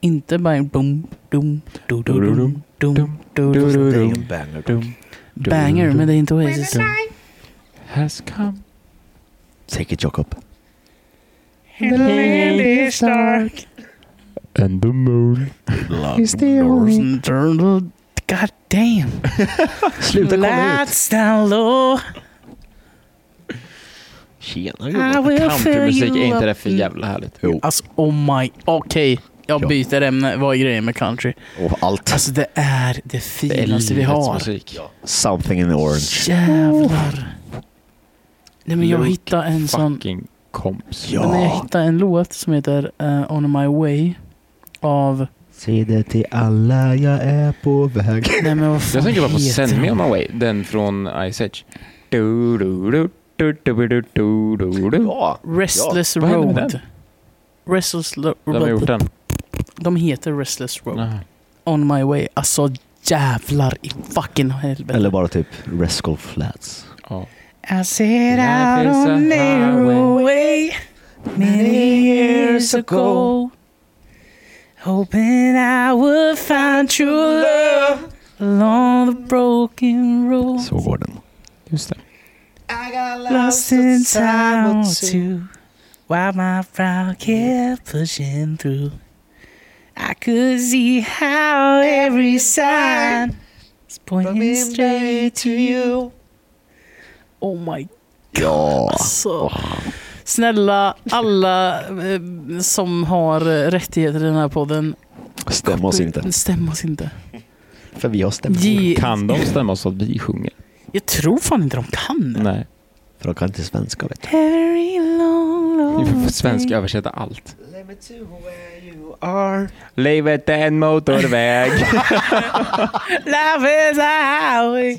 Speaker 1: Inte by boom, dum, dum, dum, dum, dum,
Speaker 2: Det är
Speaker 1: dum.
Speaker 2: en banger.
Speaker 1: Banger, men det är inte Oasis.
Speaker 3: Has come.
Speaker 2: Säkert Jakob.
Speaker 3: And the moon.
Speaker 1: God damn.
Speaker 2: Sluta komma ut.
Speaker 1: Lights down low.
Speaker 2: Tjena
Speaker 1: I
Speaker 2: gubben.
Speaker 1: will fill
Speaker 3: Countrymusik, är
Speaker 1: you
Speaker 3: inte det
Speaker 1: up.
Speaker 3: för jävla härligt?
Speaker 2: Jo,
Speaker 1: Alltså oh my, okej. Jag
Speaker 2: Ja.
Speaker 1: byter ämne. Vad är grejen med country?
Speaker 2: och allt.
Speaker 1: Alltså det är det finaste vi har.
Speaker 3: musik.
Speaker 2: Something in the orange.
Speaker 1: Jävlar. Nej men jag
Speaker 3: Luke
Speaker 1: hittade en sån...
Speaker 3: Fucking komps.
Speaker 2: Ja.
Speaker 1: Men jag hittade en låt som heter eh, On My Way av...
Speaker 2: Säg det till alla jag är på väg.
Speaker 1: Nej men vad fan
Speaker 3: Jag tänker bara på
Speaker 1: heter
Speaker 3: Send Me On
Speaker 1: den?
Speaker 3: My Way, den från Ice Age. Du, du, du, du, du, du, du, du, du.
Speaker 2: Ja.
Speaker 1: Restless
Speaker 3: Ja, vad hände med
Speaker 1: Road. Restless Lo-
Speaker 3: Vem har gjort den?
Speaker 1: De heter Restless Road.
Speaker 3: Jaha.
Speaker 1: On My Way. Alltså jävlar i fucking helvete.
Speaker 2: Eller bara typ Rescue Flats.
Speaker 3: Ja.
Speaker 1: I set
Speaker 3: Life
Speaker 1: out
Speaker 3: is a
Speaker 1: on narrow way many years ago, hoping I would find true love along the broken road.
Speaker 2: Så går den.
Speaker 3: Just det.
Speaker 1: Lost in time or two, while my proud kept pushing through. I could see how every sign was pointing straight to you. Oh my
Speaker 2: Ja.
Speaker 1: Alltså. Snälla alla eh, som har eh, rättigheter i den här podden. eh,
Speaker 2: Stäm oss inte.
Speaker 1: Stäm oss inte.
Speaker 2: För vi har stämt.
Speaker 1: Ge,
Speaker 3: Kan de stämma så att vi sjunger?
Speaker 1: jag tror fan inte de kan det.
Speaker 3: Nej.
Speaker 2: För de kan inte svenska vet du.
Speaker 1: Very long, long
Speaker 3: Vi får
Speaker 1: way.
Speaker 3: svensk översätta allt. Livet är en motorväg.
Speaker 1: Life is a highway.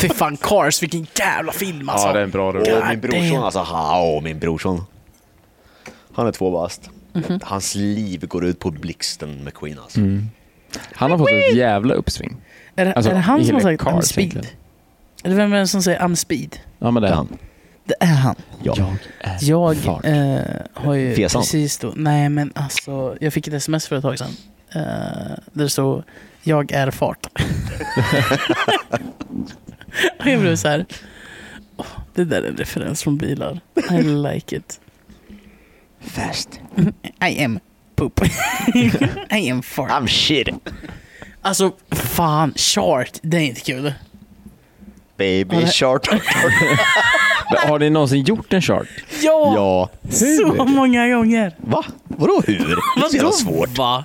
Speaker 1: Fy fan Cars, vilken jävla film alltså.
Speaker 3: ja, det är en bra rulle.
Speaker 2: Åh, min
Speaker 1: God
Speaker 2: brorson
Speaker 1: damn.
Speaker 2: alltså. Hao, min brorson. Han är två bast. Hans liv går ut på Blixten McQueen alltså.
Speaker 3: Han har fått ett jävla uppsving.
Speaker 1: är, det,
Speaker 3: Alltså,
Speaker 1: är det han som har
Speaker 3: hela
Speaker 1: sagt I'm
Speaker 3: Cars
Speaker 1: speed?
Speaker 3: egentligen.
Speaker 1: Eller vem är det som säger I'm speed?
Speaker 3: Ja, men det är han.
Speaker 1: Det är han.
Speaker 2: Ja.
Speaker 3: är
Speaker 1: Jag
Speaker 3: fart.
Speaker 1: eh, har ju
Speaker 2: Fesan.
Speaker 1: precis då, nej men alltså, jag fick ett sms för ett tag sedan. Eh, där det stod jag är fart. och jag blev så här, "Åh, det där är en referens från bilar. I like it.
Speaker 2: Fast.
Speaker 1: I am poop. I am fart.
Speaker 2: I'm shit.
Speaker 1: Alltså fan, chart, det är inte kul.
Speaker 2: Baby
Speaker 1: det-
Speaker 2: shark.
Speaker 3: Men Har ni någonsin gjort en chart?
Speaker 1: Ja,
Speaker 2: ja.
Speaker 1: så många gånger.
Speaker 2: Va? Vadå hur? Det är så jävla svårt.
Speaker 1: Va?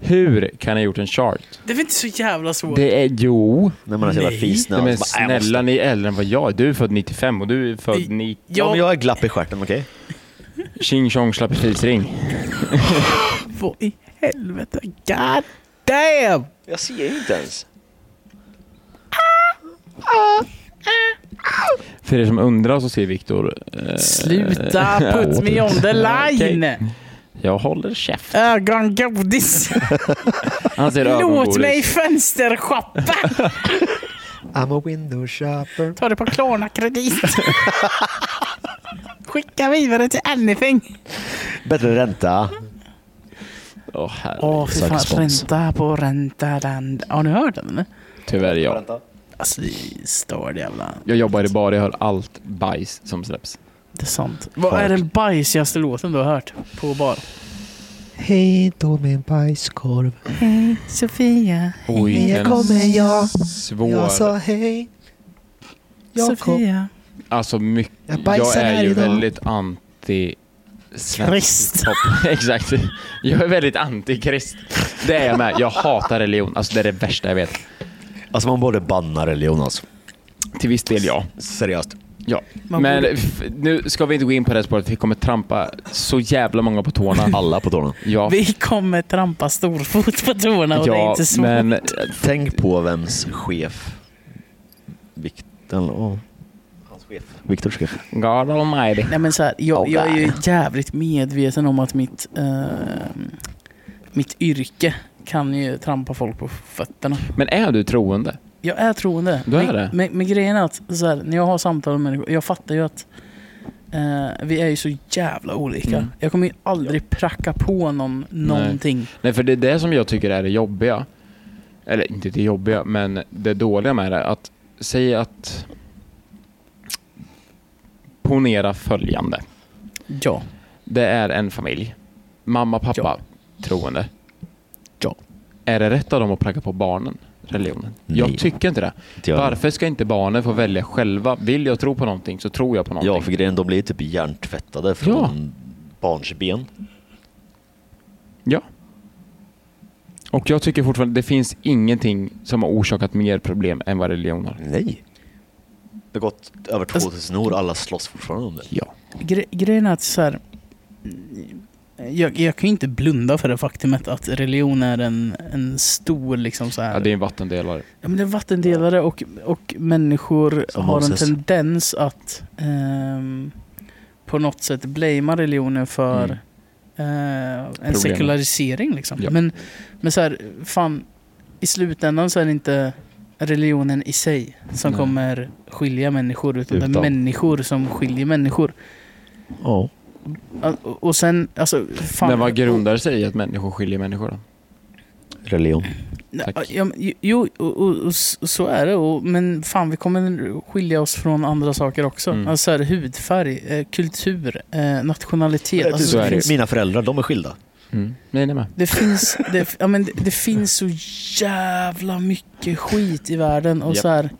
Speaker 3: Hur kan ni ha gjort en chart?
Speaker 1: Det är väl inte så jävla svårt?
Speaker 3: Det är jo.
Speaker 2: När man har så jävla
Speaker 1: Nej.
Speaker 2: fisnödig.
Speaker 3: Nej, men
Speaker 2: så bara, "Äh, jag måste-
Speaker 3: snälla, ni är äldre än vad jag är. Du är född 95 och du är
Speaker 1: I-
Speaker 3: född 90.
Speaker 2: Ja,
Speaker 1: jag,
Speaker 2: men jag är glapp i stjärten, okej?
Speaker 3: Tjing tjong slappifisring.
Speaker 1: Vad i helvete? God damn!
Speaker 2: Jag ser inte ens.
Speaker 3: För er som undrar så ser Viktor... eh,
Speaker 1: Sluta
Speaker 3: eh,
Speaker 1: put me on the line!
Speaker 3: Okej. Jag håller käft.
Speaker 1: Ögongodis!
Speaker 3: Han ser
Speaker 1: Låt mig
Speaker 3: ögongodis.
Speaker 1: fönstershoppa!
Speaker 2: I'm a window shopper.
Speaker 1: Ta det på Klarna-kredit. Skicka vidare till anything.
Speaker 2: Bättre ränta.
Speaker 3: Åh herre.
Speaker 1: Åh, fy
Speaker 2: Sök
Speaker 1: fan.
Speaker 2: spons.
Speaker 1: Ränta på ränta land. Har ni hört den eller?
Speaker 3: Tyvärr jag.
Speaker 1: Alltså, det är störd jävla...
Speaker 3: Jag jobbar i bar, jag hör allt bajs som släpps.
Speaker 1: Det är sant. Vad är den bajsigaste låten du har hört på bar?
Speaker 2: Hej då min bajskorv.
Speaker 1: Sofia.
Speaker 3: Oj,
Speaker 2: Här kommer jag.
Speaker 3: svår.
Speaker 2: hej.
Speaker 1: Sofia.
Speaker 3: Alltså mycket.
Speaker 2: Jag
Speaker 3: Jag,
Speaker 2: bajsar här
Speaker 3: är ju
Speaker 2: idag.
Speaker 3: väldigt anti... svensk
Speaker 1: Krist.
Speaker 3: hiphop. Exakt. Jag är väldigt antikrist. Det är jag med. Jag hatar religion. Alltså det är det värsta jag vet.
Speaker 2: Alltså man borde banna religion alltså.
Speaker 3: Till viss del ja.
Speaker 2: Seriöst.
Speaker 3: Ja,
Speaker 1: Man
Speaker 3: men
Speaker 1: borde-
Speaker 3: f- nu ska vi inte gå in på det här spåret, vi kommer trampa så jävla många på tårna.
Speaker 2: Alla på tårna.
Speaker 3: Ja,
Speaker 1: Vi kommer trampa storfot på tårna och det är
Speaker 3: ja
Speaker 1: inte svårt.
Speaker 3: men eh,
Speaker 2: Tänk på vems chef... Vikten... Oh. Hans chef. Viktors chef.
Speaker 3: God almighty.
Speaker 1: Nej, men så här, jag,
Speaker 2: Oh,
Speaker 1: jag är ju
Speaker 2: God.
Speaker 1: jävligt medveten om att mitt, eh, mitt yrke kan ju trampa folk på fötterna.
Speaker 3: Men är du troende?
Speaker 1: Jag är troende.
Speaker 3: Du är
Speaker 1: men,
Speaker 3: det?
Speaker 1: Men, men grejen är att så här, när jag har samtal med människor, jag fattar ju att Eh, vi är ju så jävla olika.
Speaker 3: Mm.
Speaker 1: Jag kommer ju aldrig pracka på någon någonting.
Speaker 3: Nej, för det är det som jag tycker är det jobbiga. Eller inte det jobbiga, men det dåliga med det. Att säga att... Ponera följande.
Speaker 1: Ja.
Speaker 3: Det är en familj. Mamma, pappa,
Speaker 1: Ja.
Speaker 3: troende.
Speaker 1: Ja.
Speaker 3: Är det rätt av dem att pracka på barnen religionen?
Speaker 2: Nej.
Speaker 3: Jag tycker inte det.
Speaker 2: Inte jag.
Speaker 3: Varför ska inte barnen få välja själva? Vill jag tro på någonting så tror jag på någonting.
Speaker 2: Ja, för grejen, de blir ju typ hjärntvättade från barnsben.
Speaker 3: Ja. Och jag tycker fortfarande det finns ingenting som har orsakat mer problem än vad religion har.
Speaker 2: Nej. Alltså- Det har gått över 2000 år och alla slåss fortfarande om det.
Speaker 3: Ja.
Speaker 1: Gre grejen är att så här, jag, jag kan ju inte blunda för det faktumet att religion är en, en stor liksom så här,
Speaker 3: ja, det är en vattendelare.
Speaker 1: ja, men det är vattendelare och, och människor
Speaker 2: Som
Speaker 1: har en
Speaker 2: Moses.
Speaker 1: tendens att ehm, på något sätt blamea religionen för
Speaker 3: Mm.
Speaker 1: eh, en
Speaker 3: Problemen.
Speaker 1: sekularisering. Liksom.
Speaker 3: Ja.
Speaker 1: Men, men så här, fan, i slutändan så är det inte religionen i sig som
Speaker 3: Nej.
Speaker 1: kommer skilja människor utan, det är
Speaker 3: Utan.
Speaker 1: människor som skiljer människor.
Speaker 2: Ja.
Speaker 1: Al- Och och sen, alltså... Fan,
Speaker 3: Men vad grundar det sig i att människor skiljer människor då?
Speaker 2: Religion.
Speaker 1: Nej,
Speaker 3: Tack.
Speaker 1: Ja, men, jo, och, och, och, s- så är det. Och, men fan, vi kommer skilja oss från andra saker också.
Speaker 3: Mm.
Speaker 1: Alltså, så här, hudfärg, eh, kultur, eh, nationalitet.
Speaker 2: Men,
Speaker 1: Alltså,
Speaker 3: så är det ju.
Speaker 1: finns,
Speaker 2: typ Mina föräldrar, de är skilda.
Speaker 3: Mm. Nej, nej med.
Speaker 1: det, finns, det, ja, men det, det finns så jävla mycket skit i världen. Och
Speaker 3: Japp.
Speaker 1: så här,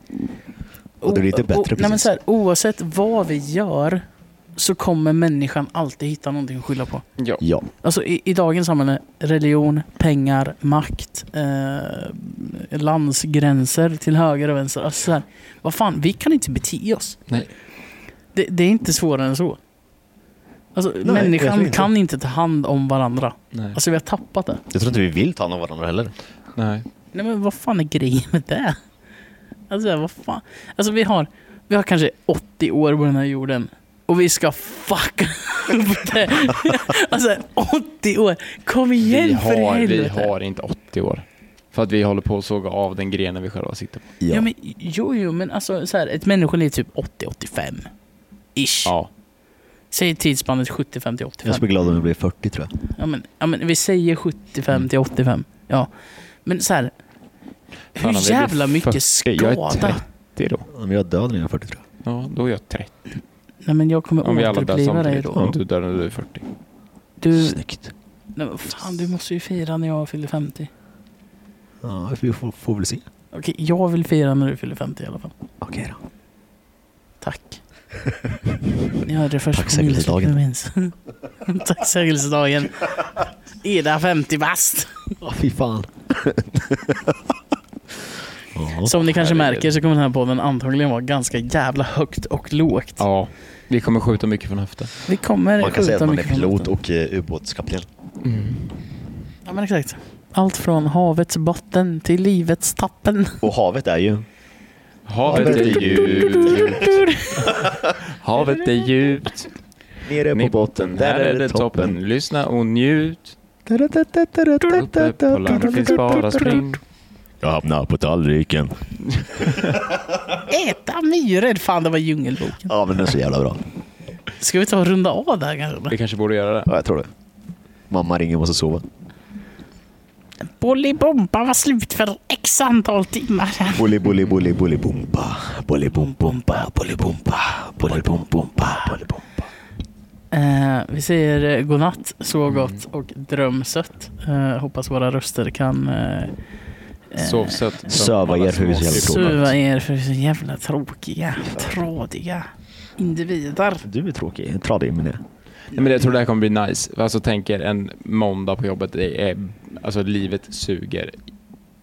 Speaker 2: Och det blir inte
Speaker 1: o-
Speaker 2: bättre
Speaker 1: o- nej, men
Speaker 2: precis.
Speaker 1: så här, Oavsett vad vi gör så kommer människan alltid hitta någonting att skylla på.
Speaker 3: Ja.
Speaker 2: Ja.
Speaker 1: Alltså i, i dagens samhälle, religion, pengar, makt, eh, landsgränser till höger och vänster. Alltså så här, vad fan, vi kan inte bete oss.
Speaker 3: Nej.
Speaker 1: Det, det är inte svårare än så. Alltså,
Speaker 2: jag
Speaker 1: människan
Speaker 2: tror inte.
Speaker 1: kan inte ta hand om varandra.
Speaker 3: Nej.
Speaker 1: Alltså vi har tappat det.
Speaker 2: Jag tror inte vi vill ta hand om varandra heller.
Speaker 3: nej.
Speaker 1: Nej men vad fan är grejen med det? Alltså vad fan. Alltså vi har, vi har kanske 80 år på den här jorden. Och vi ska fucka upp det. Alltså 80 år. Kom igen
Speaker 3: Vi
Speaker 1: för i
Speaker 3: har, vi
Speaker 1: helvete.
Speaker 3: har inte 80 år. För att vi håller på att såga av den grenen vi själva sitter på.
Speaker 1: Ja. men jo, jo men alltså så här, ett människoliv är typ 80-85. Ish.
Speaker 3: Ja.
Speaker 1: Säg tidsspannet 75 till
Speaker 2: Jag
Speaker 1: 85.
Speaker 2: skulle bli glad om jag blev 40 tror jag.
Speaker 1: Ja, men, ja, men vi säger
Speaker 3: Mm.
Speaker 1: 75 till 85. Ja. Men så här,
Speaker 3: om vi
Speaker 1: hur
Speaker 3: blir
Speaker 1: jävla mycket
Speaker 3: 40, jag är
Speaker 1: skada?
Speaker 3: 30 då.
Speaker 2: Om jag är död när jag är 40 tror jag.
Speaker 3: Ja, då är jag 30.
Speaker 1: Nej men jag kommer
Speaker 3: Om vi alla dör
Speaker 1: återuppliva dig
Speaker 3: samtidigt.
Speaker 1: då.
Speaker 3: Om du dör när du är 40.
Speaker 1: Du,
Speaker 2: Snyggt.
Speaker 1: nej, men fan du måste ju fira när jag fyller 50.
Speaker 2: Ja, vi får, får väl se.
Speaker 1: Okej, jag vill fira när du fyller 50 i alla fall.
Speaker 2: Okej då.
Speaker 1: Tack. Ni hörde det först på
Speaker 2: Tacksägelsedagen.
Speaker 1: Milsläpp, jag minns. Tacksägelsedagen. Ida 50 bast.
Speaker 2: Ja, fy fan. ja.
Speaker 1: Som ni kanske
Speaker 3: herregud.
Speaker 1: märker så kommer den här podden antagligen vara ganska jävla högt och lågt.
Speaker 3: Ja. Vi kommer skjuta mycket från höften.
Speaker 1: Vi kommer
Speaker 2: Man kan säga att man är
Speaker 1: mycket från
Speaker 2: pilot
Speaker 1: luften.
Speaker 2: och eh, ubåtskapten.
Speaker 1: Mm. Ja men exakt. Allt från havets botten till livets tappen.
Speaker 2: Och havet är ju...
Speaker 3: Havet är djupt. Havet är djupt.
Speaker 2: Nere
Speaker 3: Nere på botten, där är det toppen. Lyssna och njut. Uppe på land finns bara spring.
Speaker 2: Jag hamnar på tallriken.
Speaker 1: Äta myror! Fan det var Djungelboken.
Speaker 2: Ja, men den är så jävla bra.
Speaker 1: Ska vi ta och runda av där kanske?
Speaker 3: Vi kanske borde göra det.
Speaker 2: Ja, jag tror det. Mamma ringer och måste sova.
Speaker 1: Bolibompa var slut för x antal timmar sedan.
Speaker 2: Bully, bully, bully, bully, bumpa. Bully, bum, bumpa, bully, bumpa. Bully, bum, bumpa, bully, bumpa.
Speaker 1: Eh, vi säger eh, godnatt, sov gott och dröm sött. Eh, hoppas våra röster kan eh,
Speaker 3: Sov sött.
Speaker 2: Söva er för vi är så jävla tråkiga.
Speaker 1: suva er för så jävla tråkiga, trådiga individer.
Speaker 2: Du är tråkig. Tradig men det.
Speaker 3: Nej, men jag tror det här kommer bli nice. Alltså tänk er en måndag på jobbet. Det är, alltså livet suger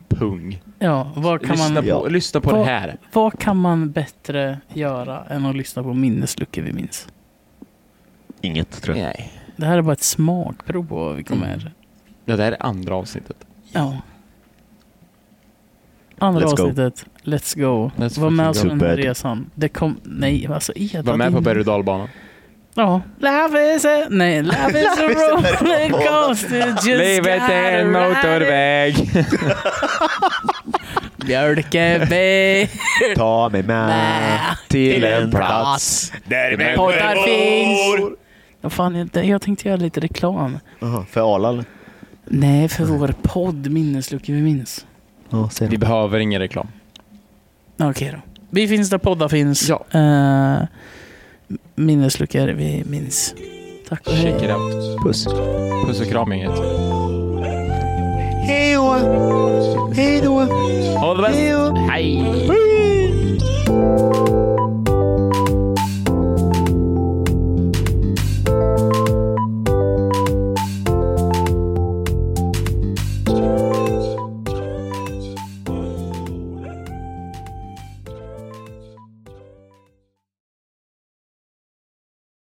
Speaker 3: pung.
Speaker 1: Ja, vad kan
Speaker 3: Lyssna
Speaker 1: man,
Speaker 3: på,
Speaker 2: Ja.
Speaker 3: lyssna på det
Speaker 1: Vad-
Speaker 3: här.
Speaker 1: vad kan man bättre göra än att lyssna på minnesluckor vi minns?
Speaker 2: Inget, tror jag.
Speaker 3: Nej.
Speaker 1: Det här är bara ett smakprov på vad vi kommer...
Speaker 3: Det där är andra avsnittet.
Speaker 1: Ja. Andra
Speaker 2: Let's go.
Speaker 1: avsnittet, Let's Go.
Speaker 3: Let's
Speaker 1: Var med oss
Speaker 2: fucking
Speaker 1: på
Speaker 2: go.
Speaker 1: den här
Speaker 2: Bad.
Speaker 1: resan. Det kom... Nej, alltså Eda.
Speaker 3: Var med på
Speaker 1: din-
Speaker 3: berg och dalbanan.
Speaker 1: Ja. Love is a... Nej, love is a roller coaster. Just
Speaker 3: Livet
Speaker 1: gotta
Speaker 3: är en
Speaker 1: ride it.
Speaker 3: motorväg.
Speaker 1: Björkeby.
Speaker 2: Ta mig
Speaker 1: Ah.
Speaker 2: med till en plats där
Speaker 1: Poddar finns. Vad fan, jag, jag tänkte göra lite reklam.
Speaker 2: Aha, för Arlal?
Speaker 1: Nej, för vår podd Minneslucka vi minns.
Speaker 2: Ja, ser
Speaker 3: Vi
Speaker 2: du.
Speaker 3: behöver ingen reklam.
Speaker 1: Okej då. Vi finns där poddar finns.
Speaker 3: Ja.
Speaker 1: Eh, minnesluckor vi minns. Tack och hej.
Speaker 3: Check it out.
Speaker 2: Puss.
Speaker 3: Puss och kram gänget.
Speaker 2: Hej då! Hej då!
Speaker 3: Ha det bäst.
Speaker 2: Hej då!
Speaker 3: Hej.
Speaker 2: Hej